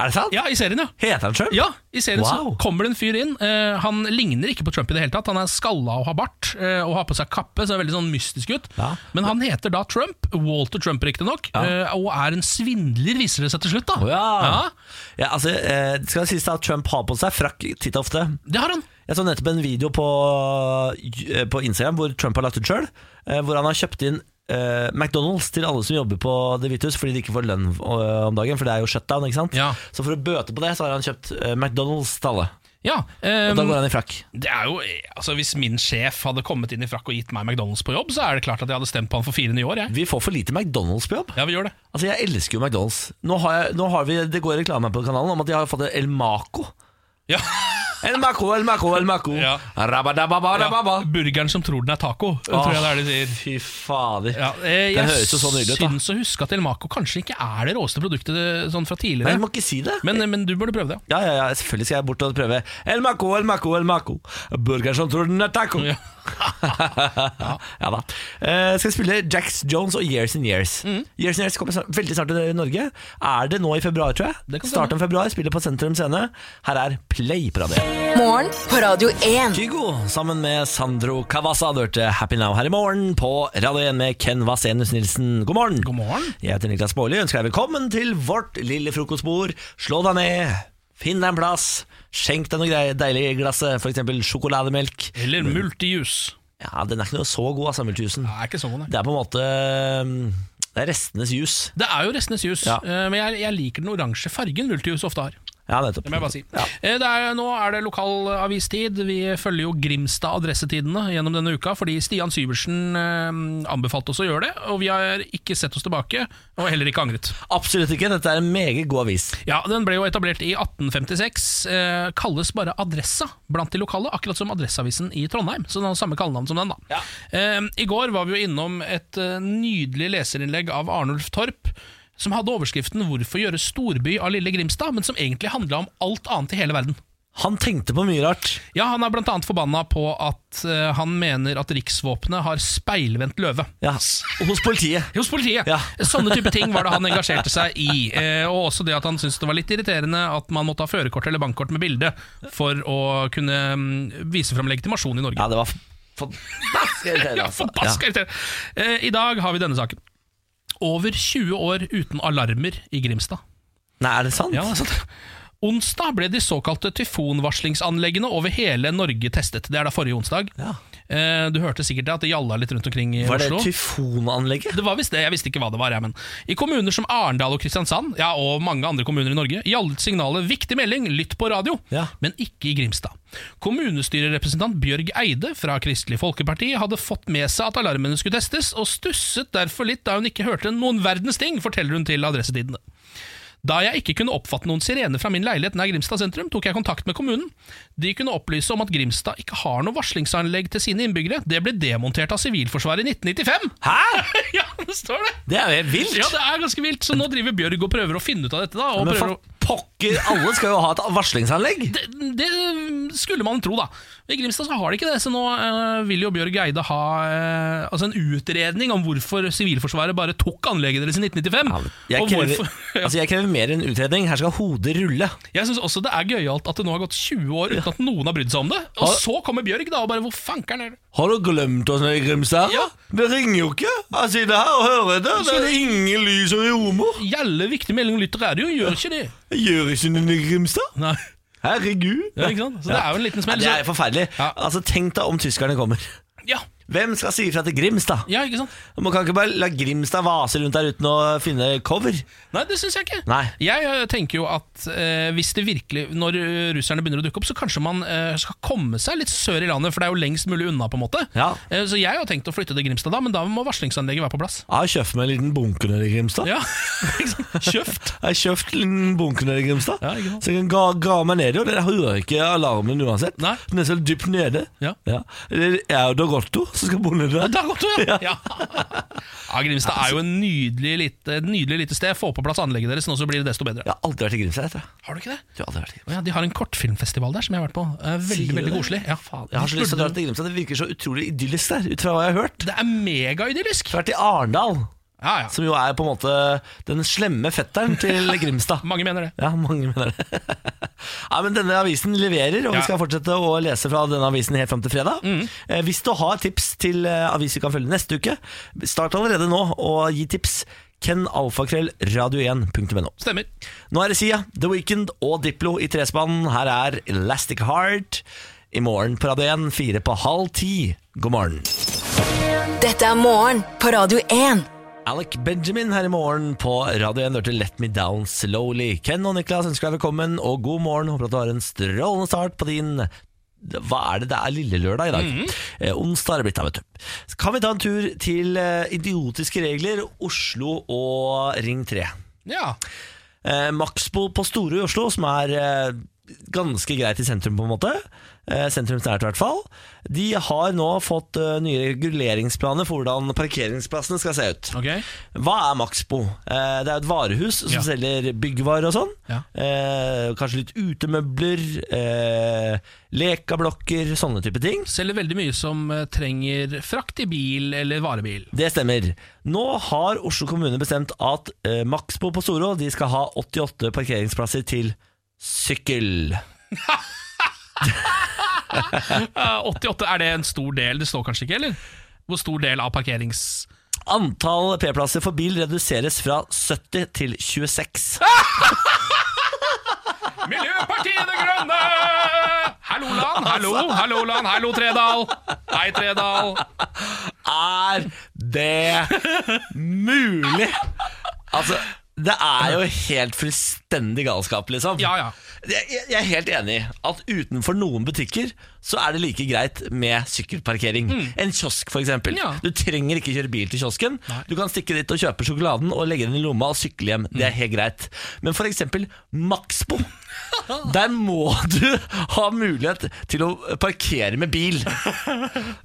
[SPEAKER 2] Er det sant?
[SPEAKER 3] Ja, i serien, ja.
[SPEAKER 2] Heter han Trump?
[SPEAKER 3] Ja, I serien så
[SPEAKER 2] Wow.
[SPEAKER 3] kommer det en fyr inn. Eh, han ligner ikke på Trump i det hele tatt. Han er skalla og har bart eh, og har på seg kappe, så er veldig sånn mystisk ut.
[SPEAKER 2] Ja.
[SPEAKER 3] Men han heter da Trump, Walter Trump riktignok, eh, og er en svindler, viser det seg til slutt. da
[SPEAKER 2] Å ja.
[SPEAKER 3] Ja,
[SPEAKER 2] Ja, altså, eh, det skal sies da at Trump har på seg frakk titt og ofte.
[SPEAKER 3] Det har han.
[SPEAKER 2] Jeg så nettopp en video på, eh, på Instagram hvor Trump har lagt ut sjøl. Hvor han har kjøpt inn eh, McDonald's til alle som jobber på Det hvite hus fordi de ikke får lønn eh, om dagen, for det er jo shutdown. ikke sant?
[SPEAKER 3] Ja.
[SPEAKER 2] Så for å bøte på det, så har han kjøpt eh, McDonald's til alle.
[SPEAKER 3] Ja,
[SPEAKER 2] Og da
[SPEAKER 3] ehm,
[SPEAKER 2] går han i frakk.
[SPEAKER 3] det er jo, eh, altså Hvis min sjef hadde kommet inn i frakk og gitt meg McDonald's på jobb, så er det klart at jeg hadde stemt på han for fire nye år. jeg
[SPEAKER 2] Vi får for lite McDonald's på jobb.
[SPEAKER 3] Ja, vi gjør det
[SPEAKER 2] Altså, Jeg elsker jo McDonald's. Nå har, jeg, nå har vi, Det går reklame på kanalen om at de har fått El Maco.
[SPEAKER 3] Ja,
[SPEAKER 2] El Maco, El Maco, El Maco.
[SPEAKER 3] Ja.
[SPEAKER 2] Rabadababababa.
[SPEAKER 3] Burgeren som tror den er taco, tror jeg det er de sier.
[SPEAKER 2] Fy fader.
[SPEAKER 3] Ja, eh,
[SPEAKER 2] Den høres jo så nydelig ut, da.
[SPEAKER 3] Jeg syns å huske at El Maco kanskje ikke er det råeste produktet eh, sånn fra
[SPEAKER 2] Nei,
[SPEAKER 3] tidligere.
[SPEAKER 2] du må ikke si det.
[SPEAKER 3] Men, eh, men du burde prøve det.
[SPEAKER 2] Ja, ja, ja, selvfølgelig skal jeg bort og prøve El Maco, El Maco, El Maco Burger som tror den er taco
[SPEAKER 3] Ja.
[SPEAKER 2] Ja, da eh, Skal spille Jax Jones og Years and Years
[SPEAKER 3] Mm.
[SPEAKER 2] Years and Years kommer snart, veldig snart til Norge Er det nå i februar, tror
[SPEAKER 3] Det
[SPEAKER 2] jeg
[SPEAKER 3] kan
[SPEAKER 2] Starten av februar, spiller på Sentrum Scene Her er Play på radio
[SPEAKER 1] Morgen på Radio 1.
[SPEAKER 2] Kygo sammen med Sandro Cavazza Du hørte Happy Now her i morgen På Radio 1 med Ken Vasenus Nilsen God morgen
[SPEAKER 3] God morgen.
[SPEAKER 2] Jeg heter Niklas Bårli Ønsker deg velkommen til vårt lille frokostbord Slå deg ned Finn deg en plass Skjenk deg noe grei- deilig i glasset For eksempel sjokolademelk
[SPEAKER 3] Eller Multijus.
[SPEAKER 2] Ja, den er ikke noe så god av sammeltusen
[SPEAKER 3] Det er ikke sånn, nei.
[SPEAKER 2] Det er på en måte mm, Det er restenes jus
[SPEAKER 3] Det er jo restenes jus,
[SPEAKER 2] Ja.
[SPEAKER 3] eh, men jeg, jeg liker den oransje fargen Multijus ofte har.
[SPEAKER 2] Ja, nettopp
[SPEAKER 3] Det må jeg bare si.
[SPEAKER 2] Ja.
[SPEAKER 3] Eh, Det er, nå er det lokalavistid. Vi følger jo Grimstad-adressetidene gjennom denne uka, fordi Stian Syversen eh, anbefalte oss å gjøre det, og vi har ikke sett oss tilbake, og heller ikke angret.
[SPEAKER 2] Absolutt ikke, dette er en meget god avis
[SPEAKER 3] Ja, Den ble jo etablert i 1856. Eh, kalles bare Adressa blant de lokale, akkurat som Adresseavisen i Trondheim. Så den har samme kallenavn som den, da. Eh, I går var vi jo innom et eh, nydelig leserinnlegg av Arnulf Torp. Som hadde overskriften 'Hvorfor gjøre storby av lille Grimstad', men som egentlig handla om alt annet i hele verden.
[SPEAKER 2] Han tenkte på mye rart
[SPEAKER 3] Ja, Han er bl.a. forbanna på at eh, han mener at riksvåpenet har speilvendt løve.
[SPEAKER 2] Ja, hos politiet
[SPEAKER 3] Hos politiet.
[SPEAKER 2] Ja.
[SPEAKER 3] Sånne type ting var det han engasjerte seg i. Eh, og også det at han syntes det var litt irriterende at man måtte ha førerkort eller bankkort med bilde for å kunne mm, vise fram legitimasjon i Norge.
[SPEAKER 2] Ja, det var fantastisk irriterende.
[SPEAKER 3] Ja,
[SPEAKER 2] altså.
[SPEAKER 3] forbaska irriterende! Eh, I dag har vi denne saken. Over 20 år uten alarmer i Grimstad.
[SPEAKER 2] Nei, er det sant?
[SPEAKER 3] Ja, det er sant. Onsdag ble de såkalte tyfonvarslingsanleggene over hele Norge testet. Det er da forrige onsdag.
[SPEAKER 2] Ja.
[SPEAKER 3] Eh, Du hørte sikkert det at det gjalla litt rundt omkring i
[SPEAKER 2] Var det
[SPEAKER 3] Oslo.
[SPEAKER 2] tyfonanlegget?
[SPEAKER 3] Det var visst det, jeg visste ikke hva det var. Jeg, men. I kommuner som Arendal og Kristiansand, ja, og mange andre kommuner i Norge, gjaldt signalet 'viktig melding, lytt på radio',
[SPEAKER 2] Ja.
[SPEAKER 3] men ikke i Grimstad. Kommunestyrerepresentant Bjørg Eide fra Kristelig Folkeparti hadde fått med seg at alarmene skulle testes, og stusset derfor litt da hun ikke hørte noen verdens ting, forteller hun til Adressetidene. Da jeg ikke kunne oppfatte noen sirene fra min leilighet nær Grimstad sentrum, tok jeg kontakt med kommunen. De kunne opplyse om at Grimstad ikke har noe varslingsanlegg til sine innbyggere. Det ble demontert av Sivilforsvaret i 1995.
[SPEAKER 2] Hæ?!
[SPEAKER 3] Ja, det står det!
[SPEAKER 2] Det er jo helt vilt!
[SPEAKER 3] Ja, det er ganske vilt. Så nå driver Bjørg og prøver å finne ut av dette. da og
[SPEAKER 2] Men
[SPEAKER 3] prøver
[SPEAKER 2] for
[SPEAKER 3] å
[SPEAKER 2] pokker, alle skal jo ha et varslingsanlegg!
[SPEAKER 3] det, det skulle man tro, da. I Grimstad så har de ikke det, så nå eh, vil jo Bjørg Eide ha eh, altså en utredning om hvorfor Sivilforsvaret bare tok anlegget deres i 1995.
[SPEAKER 2] Jeg
[SPEAKER 3] og
[SPEAKER 2] krever,
[SPEAKER 3] hvorfor- Ja.
[SPEAKER 2] altså jeg krever mer enn utredning. Her skal hodet rulle.
[SPEAKER 3] Jeg syns også det er gøyalt at det nå har gått 20 år uten at noen har brydd seg om det. Og
[SPEAKER 2] Har-
[SPEAKER 3] så kommer Bjørg da og bare Hvor fankeren er det?
[SPEAKER 2] Har du glemt oss nede i Grimstad?
[SPEAKER 3] Ja.
[SPEAKER 2] Det ringer jo ikke. Jeg sitter her og hører det.
[SPEAKER 3] Så-
[SPEAKER 2] ingen lys og humor.
[SPEAKER 3] Gjelle viktig melding om lytter er det jo, gjør ikke det?
[SPEAKER 2] Jeg gjør ikke noe i Grimstad.
[SPEAKER 3] Nei,
[SPEAKER 2] Herregud.
[SPEAKER 3] ja, ikke sant? Så det er jo en liten
[SPEAKER 2] Ja,
[SPEAKER 3] smell.
[SPEAKER 2] det
[SPEAKER 3] Så,
[SPEAKER 2] er forferdelig.
[SPEAKER 3] Ja.
[SPEAKER 2] Altså Tenk deg om tyskerne kommer.
[SPEAKER 3] ja,
[SPEAKER 2] Hvem skal si ifra til Grimstad?
[SPEAKER 3] ja, ikke sant?
[SPEAKER 2] Man kan ikke bare la Grimstad vase rundt der uten å finne cover.
[SPEAKER 3] Nei, det syns jeg ikke.
[SPEAKER 2] Nei.
[SPEAKER 3] Jeg eh, tenker jo at eh, hvis det virkelig Når eh, russerne begynner å dukke opp, så kanskje man eh, skal komme seg litt sør i landet, for det er jo lengst mulig unna, på en måte.
[SPEAKER 2] Ja.
[SPEAKER 3] Eh, så jeg har jo tenkt å flytte til Grimstad da, men da må varslingsanlegget være på plass.
[SPEAKER 2] Jeg har kjøpt meg en liten bunke nede i Grimstad.
[SPEAKER 3] Ja, ikke sant? Kjøft.
[SPEAKER 2] Jeg har kjøpt en liten bunke nede i Grimstad,
[SPEAKER 3] Ja, ikke sant.
[SPEAKER 2] så jeg kan gra, gra meg ned i, og dere hører ikke alarmen uansett.
[SPEAKER 3] Nei.
[SPEAKER 2] Den er så dypt nede.
[SPEAKER 3] Ja.
[SPEAKER 2] Det er jo Dagotto som skal bo nedi der.
[SPEAKER 3] Da går det, ja. ja. ja Grimstad er jo en nydelig lite, et nydelig lite sted. Få på plass anlegget deres, nå så blir det desto bedre.
[SPEAKER 2] Jeg har aldri vært i Grimstad, jeg tror jeg.
[SPEAKER 3] Har du ikke det?
[SPEAKER 2] Jeg har aldri vært i Grimstad.
[SPEAKER 3] Å Ja, de har en kortfilmfestival der som jeg har vært på. Eh, Veldig,
[SPEAKER 2] Sier du
[SPEAKER 3] veldig
[SPEAKER 2] det?
[SPEAKER 3] koselig. Ja, faen.
[SPEAKER 2] Jeg har så lyst til å dra til Grimstad. Det virker så utrolig idyllisk der, ut fra hva jeg har hørt.
[SPEAKER 3] Det er
[SPEAKER 2] Jeg
[SPEAKER 3] megaidyllisk!
[SPEAKER 2] har vært i Arendal,
[SPEAKER 3] Ja, ja.
[SPEAKER 2] som jo er på en måte den slemme fetteren til Grimstad.
[SPEAKER 3] Mange mener det.
[SPEAKER 2] Ja, mange mener det. Nei, men denne avisen leverer, og
[SPEAKER 3] Ja.
[SPEAKER 2] vi skal fortsette å lese fra denne avisen helt fram til fredag. Eh, hvis du har tips til eh, avis vi kan følge neste uke, start allerede nå og gi tips. Ken alfakrøll radio1.no.
[SPEAKER 3] Stemmer.
[SPEAKER 2] Nå er det Sia, The Weekend og Diplo i trespannen. Her er Elastic Heart. I morgen på Radio 1, fire på halv ti. God morgen.
[SPEAKER 1] Dette er morgen på Radio 1.
[SPEAKER 2] Alec Benjamin her i morgen på Radio 1 hørte Let Me Down Slowly. Ken og Niklas ønsker deg velkommen og god morgen. Håper at du har en strålende start på din hva er det det er lille lørdag i dag? eh, onsdag er det blitt, da, vet du. Kan vi ta en tur til eh, idiotiske regler, Oslo og Ring 3?
[SPEAKER 3] Ja.
[SPEAKER 2] Eh, Maxbo på Storø i Oslo, som er eh, ganske greit i sentrum, på en måte. Eh, sentrumsnært, i hvert fall. De har nå fått eh, nye reguleringsplaner for hvordan parkeringsplassene skal se ut.
[SPEAKER 3] Ok.
[SPEAKER 2] Hva er Maxbo? Eh, det er et varehus som
[SPEAKER 3] Ja.
[SPEAKER 2] selger byggvarer og sånn.
[SPEAKER 3] Ja.
[SPEAKER 2] Eh, kanskje litt utemøbler, eh, lekablokker, sånne type ting.
[SPEAKER 3] Selger veldig mye som eh, trenger frakt i bil eller varebil.
[SPEAKER 2] Det stemmer. Nå har Oslo kommune bestemt at eh, Maxbo på Storå de skal ha 88 parkeringsplasser til sykkel.
[SPEAKER 3] Eh, 88, er det en stor del? Det står kanskje ikke, eller? Hvor stor del av parkerings...
[SPEAKER 2] Antall P-plasser for bil reduseres fra 70 til 26.
[SPEAKER 3] Miljøpartiet De Grønne! Hallo, land! Hallo, hallo, land! Hallo, Tredal! Hei, Tredal!
[SPEAKER 2] Er det mulig? Altså, det er jo helt fullstendig galskap, liksom.
[SPEAKER 3] Ja, ja.
[SPEAKER 2] Jeg, jeg- jeg er helt enig i at utenfor noen butikker så er det like greit med sykkelparkering. En kiosk, f.eks.
[SPEAKER 3] Mm. Ja.
[SPEAKER 2] Du trenger ikke kjøre bil til kiosken. Du kan stikke dit og kjøpe sjokoladen og legge den i lomma og sykle hjem. Det er helt greit. Men f.eks. Maxbo. Der må du ha mulighet til å parkere med bil.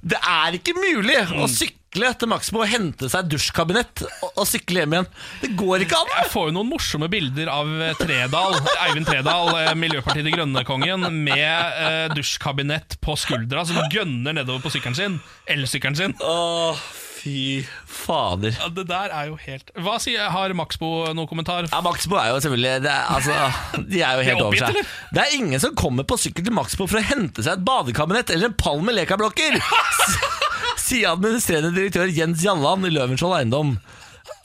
[SPEAKER 2] Det er ikke mulig å sykle til Maxbo og hente seg dusjkabinett og, og sykle hjem igjen. Det går ikke an!
[SPEAKER 3] Jeg får jo noen morsomme bilder av eh, Tredal, Eivind Tredal, eh, Miljøpartiet De Grønne-kongen, med eh, dusjkabinett på skuldra, som gønner nedover på sykkelen sin. Elsykkelen sin.
[SPEAKER 2] Å, fy fader.
[SPEAKER 3] Ja, det der er jo helt Hva sier Har Maxbo noen kommentar?
[SPEAKER 2] Ja, Maxbo er jo selvfølgelig det er, altså, De er jo helt
[SPEAKER 3] De er
[SPEAKER 2] over
[SPEAKER 3] oppgitt,
[SPEAKER 2] seg.
[SPEAKER 3] eller?
[SPEAKER 2] Det er ingen som kommer på sykkel til Maxbo for å hente seg et badekabinett eller en pall med lekablokker! s- Sier administrerende direktør Jens Jalland i Løvenskiold Eiendom.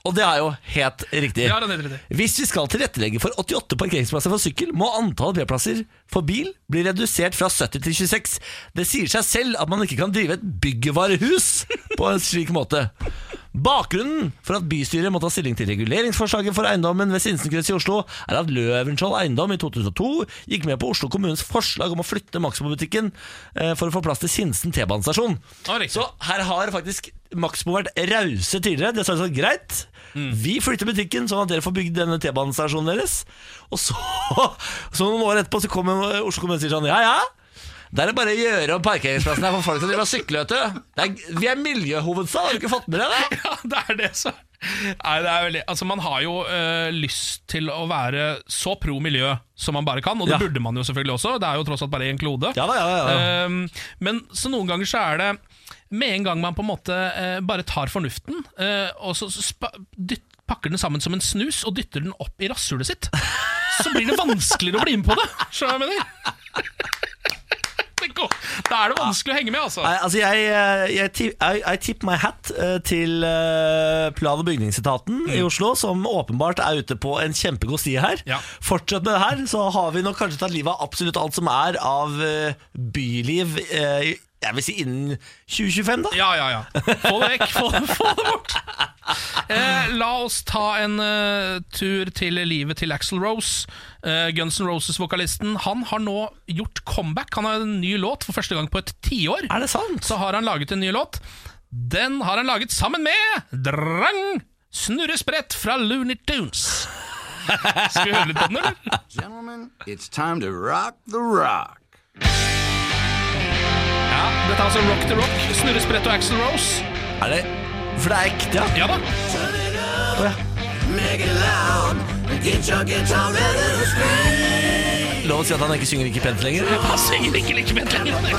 [SPEAKER 2] Og det er jo helt riktig.
[SPEAKER 3] Ja, det er helt riktig.
[SPEAKER 2] Hvis vi skal tilrettelegge for 88 parkeringsplasser for sykkel, må antallet p-plasser for bil bli redusert fra 70 til 26. Det sier seg selv at man ikke kan drive et byggevarehus på en slik måte. Bakgrunnen for at bystyret må ta stilling til reguleringsforslaget for eiendommen ved Sinsenkryss i Oslo, er at Løvenskiold Eiendom i 2002 gikk med på Oslo kommunes forslag om å flytte Maxbo-butikken eh, for å få plass til Sinsen T-banestasjon.
[SPEAKER 3] Ja, riktig.
[SPEAKER 2] Så her har faktisk Maxbo vært rause tidligere. Det sa sånn, greit, vi flytter butikken sånn at dere får bygd denne T-banestasjonen deres. Og så, så noen år etterpå så kommer Oslo kommune og sier sånn, ja, ja. Det er det bare å gjøre om parkeringsplassen her for folk som driver og sykler, vet du. Det er, vi er miljøhovedstad, har du ikke fått med deg det?
[SPEAKER 3] Ja, det er det, så. Nei, det er veldig, altså Man har jo eh, lyst til å være så pro miljø som man bare kan, og det
[SPEAKER 2] Ja.
[SPEAKER 3] burde man jo selvfølgelig også. Det er jo tross alt bare én klode.
[SPEAKER 2] Ja da, ja da, ja da.
[SPEAKER 3] Ehm, men så noen ganger så er det med en gang man på en måte eh, bare tar fornuften, eh, og så spa, dytt, pakker den sammen som en snus og dytter den opp i rasshølet sitt, så blir det vanskeligere å bli med på det. Skjønner du hva jeg mener? Det går- Da er det vanskelig å henge med, altså.
[SPEAKER 2] Nei, altså jeg, eh, jeg, tip- I, I tip my hat eh, til eh, plan- og bygningsetaten i Oslo, som åpenbart er ute på en kjempegod sti her.
[SPEAKER 3] Ja.
[SPEAKER 2] Fortsett med det her, så har vi nok kanskje tatt livet av absolutt alt som er av eh, byliv, eh, jeg vil si innen 2025 da.
[SPEAKER 3] Ja, ja, ja. Få det vekk. Få, få det bort. Eh, la oss ta en eh, tur til livet til Axel Rose. Eh, Guns N' Roses-vokalisten. Han har nå gjort comeback. Han har en ny låt for første gang på et tiår.
[SPEAKER 2] Er det sant?
[SPEAKER 3] Så har han laget en ny låt. Den har han laget sammen med Drang! Snurresprett fra Looney Tunes. Skal vi høre litt på den, eller?
[SPEAKER 7] Gentlemen, it's time to rock the rock.
[SPEAKER 3] Ja, Dette er altså Rock the Rock, Snurresprett og Axel Rose.
[SPEAKER 2] Er det? For det er ekte, ja.
[SPEAKER 3] Ja da.
[SPEAKER 2] Lov å si at han ikke synger ikke pent lenger.
[SPEAKER 3] Han synger ikke like pent lenger.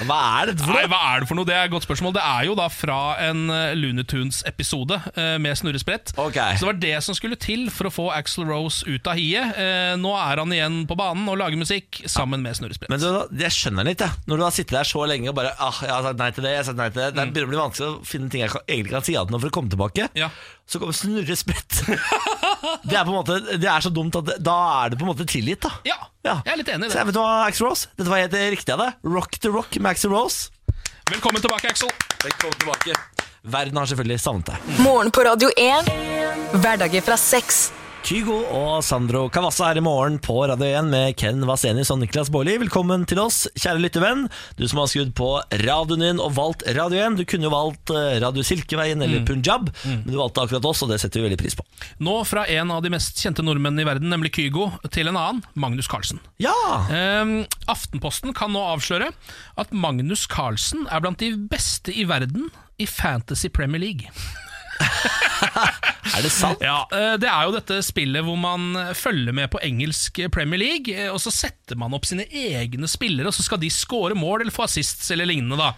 [SPEAKER 2] Hva er dette for
[SPEAKER 3] Nei,
[SPEAKER 2] noe?
[SPEAKER 3] hva er det for noe? Det er et godt spørsmål. Det er jo da fra en eh, Looney Tunes-episode eh, med snurresprett.
[SPEAKER 2] Ok.
[SPEAKER 3] Så det var det som skulle til for å få Axl Rose ut av hiet. Eh, Nå er han igjen på banen og lager musikk sammen med snurresprett.
[SPEAKER 2] Men du, jeg skjønner den ikke, jeg. Når du har sittet der så lenge og bare ah, 'Jeg har sagt nei til det, jeg har sagt nei til det.' Det begynner å bli vanskelig å finne ting jeg kan, egentlig kan si ja til nå for å komme tilbake.
[SPEAKER 3] Mm. Ja.
[SPEAKER 2] Så kommer Snurre Sprett. det er på en måte Det er så dumt at det, da er det på en måte tilgitt, da.
[SPEAKER 3] Ja, jeg er litt enig i det.
[SPEAKER 2] Så jeg vet du hva, Axl Rose? Dette var helt riktig av deg. Rock the rock med Axl Rose.
[SPEAKER 3] Velkommen tilbake, Axl.
[SPEAKER 2] Velkommen tilbake. Verden har selvfølgelig savnet deg.
[SPEAKER 1] Morgen på Radio 1. Hverdager fra seks.
[SPEAKER 2] Kygo og Sandro Cavazza her i morgen på Radio 1 med Ken Vasenius og Niklas Baarli. Velkommen til oss, kjære lyttevenn. Du som har skrudd på radioen din og valgt Radio 1. Du kunne jo valgt eh, Radio Silkeveien
[SPEAKER 3] Mm.
[SPEAKER 2] eller Punjab, men du valgte akkurat oss, og det setter vi veldig pris på.
[SPEAKER 3] Nå fra en av de mest kjente nordmennene i verden, nemlig Kygo, til en annen, Magnus Carlsen.
[SPEAKER 2] Ja!
[SPEAKER 3] Ehm, Aftenposten kan nå avsløre at Magnus Carlsen er blant de beste i verden i Fantasy Premier League.
[SPEAKER 2] Er det sant?
[SPEAKER 3] Ja, eh, Det er jo dette spillet hvor man følger med på engelsk Premier League, eh, og så setter man opp sine egne spillere, og så skal de score mål eller få assists eller lignende. da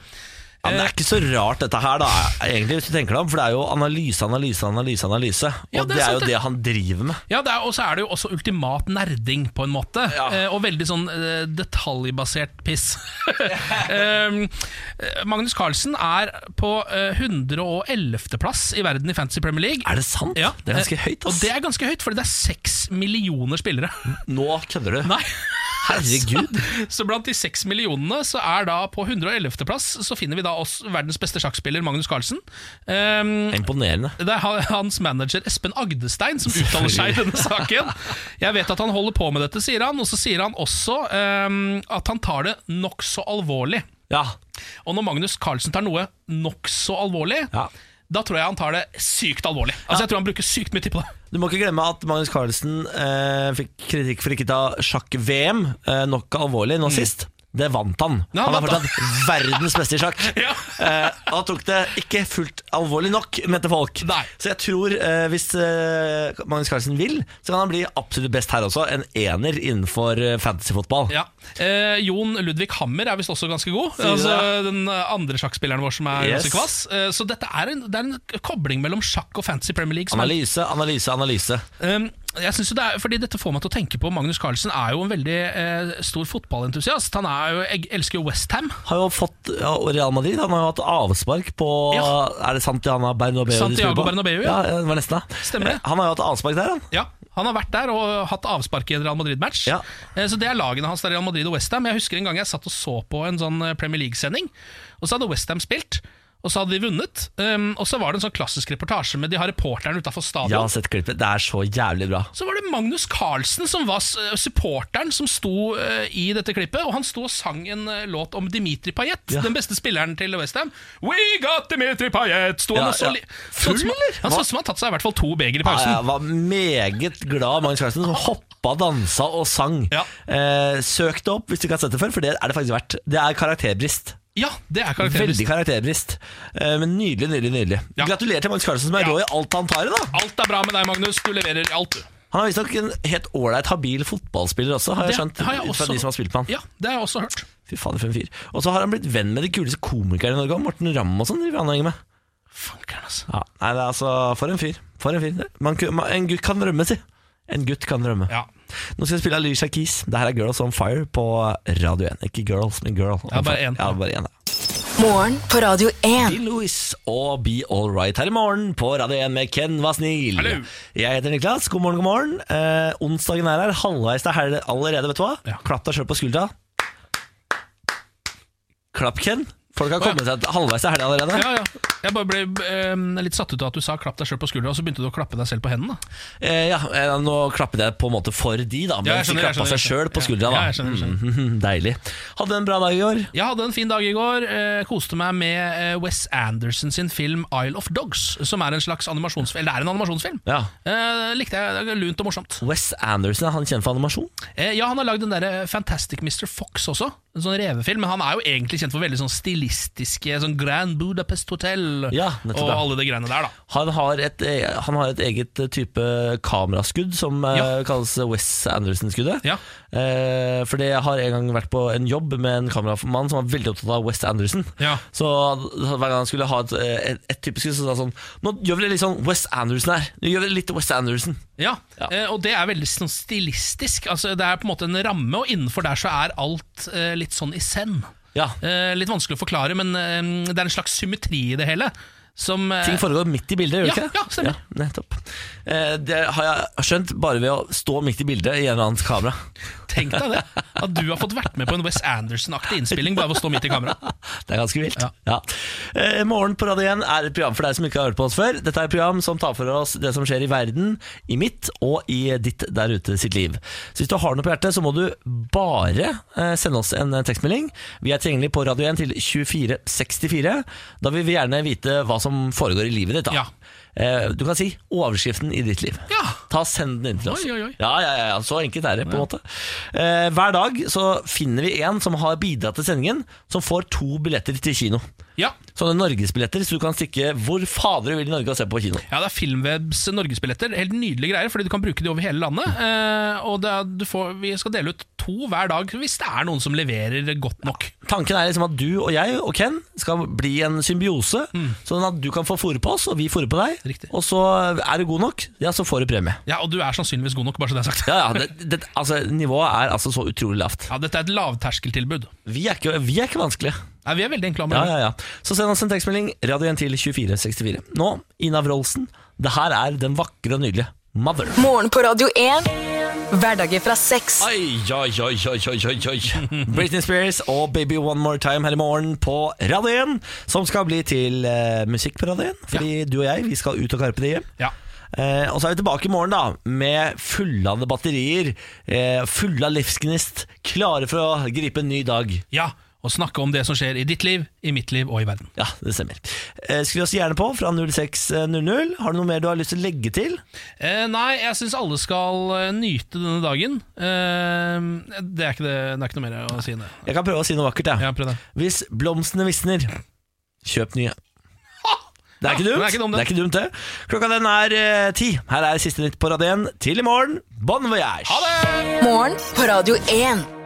[SPEAKER 2] Ja, men det er ikke så rart dette her, da, egentlig, hvis du tenker deg om. For det er jo analyse, analyse, analyse, analyse. Og
[SPEAKER 3] Ja, det er
[SPEAKER 2] det er
[SPEAKER 3] sant,
[SPEAKER 2] jo
[SPEAKER 3] det.
[SPEAKER 2] det han driver med.
[SPEAKER 3] Ja, det er, Og så er det jo også ultimat nerding, på en måte. Eh, og veldig sånn eh, detaljbasert piss. um, eh, Magnus Carlsen er på eh, 111.-plass i verden i Fantasy Premier League.
[SPEAKER 2] Er det sant?
[SPEAKER 3] Ja,
[SPEAKER 2] Det er ganske
[SPEAKER 3] eh,
[SPEAKER 2] høyt,
[SPEAKER 3] Og
[SPEAKER 2] ass.
[SPEAKER 3] det er ganske høyt, fordi det er seks millioner spillere.
[SPEAKER 2] Nå kødder du.
[SPEAKER 3] Nei
[SPEAKER 2] Herregud.
[SPEAKER 3] Så blant de seks millionene så er da på 111. plass så finner vi da oss verdens beste sjakkspiller Magnus Carlsen. Ehm,
[SPEAKER 2] Imponerende.
[SPEAKER 3] det er han- hans manager Espen Agdestein som uttaler seg i denne saken. Jeg vet at han holder på med dette, sier han. Og så sier han også ehm, at han tar det nokså alvorlig.
[SPEAKER 2] Ja.
[SPEAKER 3] Og når Magnus Carlsen tar noe nokså alvorlig,
[SPEAKER 2] Ja.
[SPEAKER 3] da tror jeg han tar det sykt alvorlig. Altså Jeg tror han bruker sykt mye tid på det.
[SPEAKER 2] Du må ikke glemme at Magnus Carlsen eh, fikk kritikk for ikke ta sjakk-VM eh, nok alvorlig nå sist. Det vant han.
[SPEAKER 3] Ja,
[SPEAKER 2] han er
[SPEAKER 3] han Mm. vant, da.
[SPEAKER 2] fortsatt verdens beste i sjakk.
[SPEAKER 3] Ja.
[SPEAKER 2] eh, og han tok det ikke fullt alvorlig nok, mente folk.
[SPEAKER 3] Nei.
[SPEAKER 2] Så jeg tror eh, hvis eh, Magnus Carlsen vil, så kan han bli absolutt best her også. En ener innenfor eh, fantasyfotball.
[SPEAKER 3] Ja. Eh, Jon Ludvig Hammer er visst også ganske god.
[SPEAKER 2] du
[SPEAKER 3] Altså, den eh, andre sjakkspilleren vår som er
[SPEAKER 2] Yes.
[SPEAKER 3] ganske kvass. Eh, så dette er en, det er en kobling mellom sjakk og Fantasy Premier League. Som er,
[SPEAKER 2] Analyse, analyse, analyse.
[SPEAKER 3] um, jeg synes jo det er, fordi Dette får meg til å tenke på Magnus Carlsen er jo en veldig eh, stor fotballentusiast. Han er jo, jeg elsker jo Westham.
[SPEAKER 2] Har jo fått ja, og Real Madrid Han har jo hatt avspark på
[SPEAKER 3] Ja.
[SPEAKER 2] Er det Santiago Bernabeu? de spiller
[SPEAKER 3] Santiago
[SPEAKER 2] på?
[SPEAKER 3] Bernabeu,
[SPEAKER 2] ja.
[SPEAKER 3] ja.
[SPEAKER 2] ja. Det var nesten det.
[SPEAKER 3] Stemmer det.
[SPEAKER 2] Eh, Han har jo hatt avspark der, han.
[SPEAKER 3] Ja, han har vært der og hatt avspark i en Real Madrid-match.
[SPEAKER 2] Ja.
[SPEAKER 3] Eh, Så Det er lagene hans der i Real Madrid og Westham. Jeg husker en gang jeg satt og så på en sånn eh, Premier League-sending, og så hadde Westham spilt. Og så hadde de vunnet. Um, og så var det en sånn klassisk reportasje med de har reporteren utafor
[SPEAKER 2] Jeg
[SPEAKER 3] stadion.
[SPEAKER 2] har sett klippet. Det er så jævlig bra.
[SPEAKER 3] Så var det Magnus Carlsen som var s- eh, supporteren som sto eh, i dette klippet. Og han sto og sang en eh, låt om Dimitri Payet, den beste spilleren til Westham. We got Dimitri Payet! Sto
[SPEAKER 2] Ja,
[SPEAKER 3] han og
[SPEAKER 2] ja.
[SPEAKER 3] så li- sånn
[SPEAKER 2] Full,
[SPEAKER 3] som-
[SPEAKER 2] eller?
[SPEAKER 3] Han så ut som han hadde tatt seg i hvert fall to beger i
[SPEAKER 2] Ja,
[SPEAKER 3] pausen.
[SPEAKER 2] jeg var meget glad Magnus Carlsen som hoppa, dansa og sang.
[SPEAKER 3] Ja.
[SPEAKER 2] Eh, søk det opp hvis du ikke har sett det før, for det er det faktisk verdt. Det er karakterbrist.
[SPEAKER 3] Ja, det er
[SPEAKER 2] Veldig
[SPEAKER 3] karakteristisk.
[SPEAKER 2] karakterbrist. Eh, men nydelig, nydelig, nydelig.
[SPEAKER 3] Ja.
[SPEAKER 2] Gratulerer til Magnus Carlsen som er
[SPEAKER 3] Ja.
[SPEAKER 2] rå i alt han tar i, da.
[SPEAKER 3] Alt er bra med deg, Magnus. Du leverer i alt, du.
[SPEAKER 2] Han er visstnok en helt ålreit habil fotballspiller også, har jeg skjønt. ut fra de som har spilt med han.
[SPEAKER 3] Ja, det har jeg også hørt.
[SPEAKER 2] Fy faen, for en fyr. Og så har han blitt venn med de kuleste komikerne i Norge, og Morten Ramm og sånn. driver han og henger med.
[SPEAKER 3] Fankeren, altså.
[SPEAKER 2] Ja, nei, det er altså For en fyr. For en fyr. Man, ku- man, en gutt kan drømme, si. En gutt kan drømme.
[SPEAKER 3] Ja.
[SPEAKER 2] Nå skal jeg spille Alicia Keys. Det her er Girls On Fire på Radio 1. Ikke Girls, men Girl.
[SPEAKER 3] Ja, bare én.
[SPEAKER 2] Ja, bare én. ja.
[SPEAKER 1] Morgen på Radio 1.
[SPEAKER 2] Dean Lewis og Be All Right her i morgen på Radio 1 med Ken Vasnil.
[SPEAKER 3] Hallo.
[SPEAKER 2] Jeg heter Niklas. God morgen, god morgen. Eh, onsdagen er her. Halvveis til helg allerede, vet du hva.
[SPEAKER 3] Ja.
[SPEAKER 2] Klapp deg sjøl på skuldra. Klapp, Ken. Folk har kommet seg halvveis til helg allerede.
[SPEAKER 3] Ja, ja. Jeg bare ble eh, litt satt ut av at du sa 'klapp deg sjøl på skuldra', og så begynte du å klappe deg selv på hendene. da.
[SPEAKER 2] Eh, ja, eh, nå klappet jeg på en måte for de, da.
[SPEAKER 3] Ja,
[SPEAKER 2] Men
[SPEAKER 3] jeg
[SPEAKER 2] de
[SPEAKER 3] skjønner, jeg
[SPEAKER 2] klappa
[SPEAKER 3] skjønner,
[SPEAKER 2] seg
[SPEAKER 3] jeg
[SPEAKER 2] sjøl på
[SPEAKER 3] skjønner.
[SPEAKER 2] skuldra, da.
[SPEAKER 3] Ja, jeg skjønner, jeg skjønner.
[SPEAKER 2] Mhm, Deilig. Hadde en bra dag i går.
[SPEAKER 3] Jeg hadde en fin dag i går. eh, koste meg med eh, Wes Anderson sin film 'Isle of Dogs', som er en slags animasjonsfilm. Eller det er en animasjonsfilm.
[SPEAKER 2] Ja.
[SPEAKER 3] Eh, likte jeg. det er Lunt og morsomt.
[SPEAKER 2] Wes Anderson, er han kjent for animasjon?
[SPEAKER 3] Eh, ja, han har lagd den der Fantastic Mr. Fox også, en sånn revefilm. Men han er jo egentlig kjent for veldig sånn stilistiske sånn Grand Budapest Hotel
[SPEAKER 2] Ja, nettopp,
[SPEAKER 3] og
[SPEAKER 2] ja.
[SPEAKER 3] alle de greiene der, da.
[SPEAKER 2] Han har, et, eh, han har et eget eh, type kameraskudd som eh,
[SPEAKER 3] Ja.
[SPEAKER 2] kalles Wes Anderson-skuddet.
[SPEAKER 3] Ja.
[SPEAKER 2] Eh, fordi jeg har en gang vært på en jobb med en kameramann som var veldig opptatt av Wes Anderson.
[SPEAKER 3] Ja.
[SPEAKER 2] Så hver gang han skulle ha et, eh, et, et typisk skudd, så sa han sånn Nå gjør vi det litt sånn Wes Anderson her. Nå gjør vi det litt Wes Anderson.
[SPEAKER 3] Ja,
[SPEAKER 2] Ja.
[SPEAKER 3] eh, og det er veldig sånn stilistisk. Altså, det er på en måte en ramme, og innenfor der så er alt eh, litt sånn i send.
[SPEAKER 2] Ja.
[SPEAKER 3] Eh, litt vanskelig å forklare, men eh, det er en slags symmetri i det hele. Som, eh,
[SPEAKER 2] Ting foregår midt i bildet, gjør det
[SPEAKER 3] ja,
[SPEAKER 2] ikke?
[SPEAKER 3] ja, stemmer.
[SPEAKER 2] nettopp. Eh, det har jeg skjønt bare ved å stå midt i bildet i en eller annen kamera.
[SPEAKER 3] Tenk deg det! At du har fått vært med på en Wes Anderson-aktig innspilling bare ved å stå midt i kamera.
[SPEAKER 2] Det er ganske vilt.
[SPEAKER 3] Ja.
[SPEAKER 2] Ja. Eh, morgen på Radio 1 er et program for deg som ikke har hørt på oss før. Dette er et program som tar for oss det som skjer i verden, i mitt og i ditt der ute sitt liv. Så hvis du har noe på hjertet, så må du bare eh, sende oss en eh, tekstmelding. Vi er tilgjengelig på Radio 1 til 2464. Da vil vi gjerne vite hva som foregår i livet ditt. Da.
[SPEAKER 3] Ja.
[SPEAKER 2] Eh, du kan si overskriften i ditt liv.
[SPEAKER 3] Ja.
[SPEAKER 2] Ta og Send den inn til oss.
[SPEAKER 3] Oi, oi, oi.
[SPEAKER 2] Altså, Ja, ja, ja, ja, så enkelt er det på en måte eh, Hver dag så finner vi en som har bidratt til sendingen Som får to billetter til kino
[SPEAKER 3] Ja,
[SPEAKER 2] Sånne Norgesbilletter, så du kan stikke hvor fader du vil i Norge og se på kino
[SPEAKER 3] Ja, det er Filmwebs norgesbilletter. Helt nydelige greier, fordi du kan bruke de over hele landet. Eh, og det er, du får, vi skal dele ut to hver dag hvis det er noen som leverer godt nok.
[SPEAKER 2] Tanken er liksom at du og jeg og Ken skal bli en symbiose Sånn at du kan få fôre på oss, og vi fôre på deg
[SPEAKER 3] Mm. Riktig.
[SPEAKER 2] Og så er du god nok, ja så får du premie
[SPEAKER 3] Ja, Og du er sannsynligvis god nok, bare så det er sagt.
[SPEAKER 2] Ja, ja, det, det, altså nivået er altså så utrolig lavt
[SPEAKER 3] Ja, Dette er et lavterskeltilbud.
[SPEAKER 2] Vi er ikke, vi er ikke vanskelige
[SPEAKER 3] Nei, vi er veldig
[SPEAKER 2] Ja,
[SPEAKER 3] enkle å anmelde.
[SPEAKER 2] ja, ja. Så send oss en tekstmelding. Radio 1 til 2464. Nå, Ina Wroldsen. Det her er den vakre og nydelige Mother.
[SPEAKER 1] Morgen på Radio 1. Hverdager fra seks.
[SPEAKER 2] Oi, oi, oi, oi, oi, oi, oi. Britney Spears og Baby One More Time her i morgen på Radio 1, som skal bli til eh, musikk på Radio 1. Fordi du og jeg, vi skal ut og karpe det hjem.
[SPEAKER 3] Ja.
[SPEAKER 2] Eh, og så er vi tilbake i morgen da med fullade batterier, eh, fulle av livsgnist, klare for å gripe en ny dag.
[SPEAKER 3] ja, Og snakke om det som skjer i ditt liv, i mitt liv og i verden.
[SPEAKER 2] Ja, det stemmer. Eh, skriv oss gjerne på fra 0600. Har du noe mer du har lyst til å legge til?
[SPEAKER 3] Eh, nei, jeg syns alle skal eh, nyte denne dagen. Eh, det, er ikke det, det er ikke noe mer å si enn det.
[SPEAKER 2] Jeg kan prøve å si noe vakkert, jeg.
[SPEAKER 3] Ja, prøv det.
[SPEAKER 2] Hvis blomstene visner, kjøp nye. Det er,
[SPEAKER 3] Ja,
[SPEAKER 2] ikke
[SPEAKER 3] den
[SPEAKER 2] dumt.
[SPEAKER 3] er ikke dum, den.
[SPEAKER 2] det er ikke dumt, det. Klokka den er eh, ti. Her er siste nytt på Radén. Til i morgen, bon voyage!
[SPEAKER 1] Morgen på Radio 1.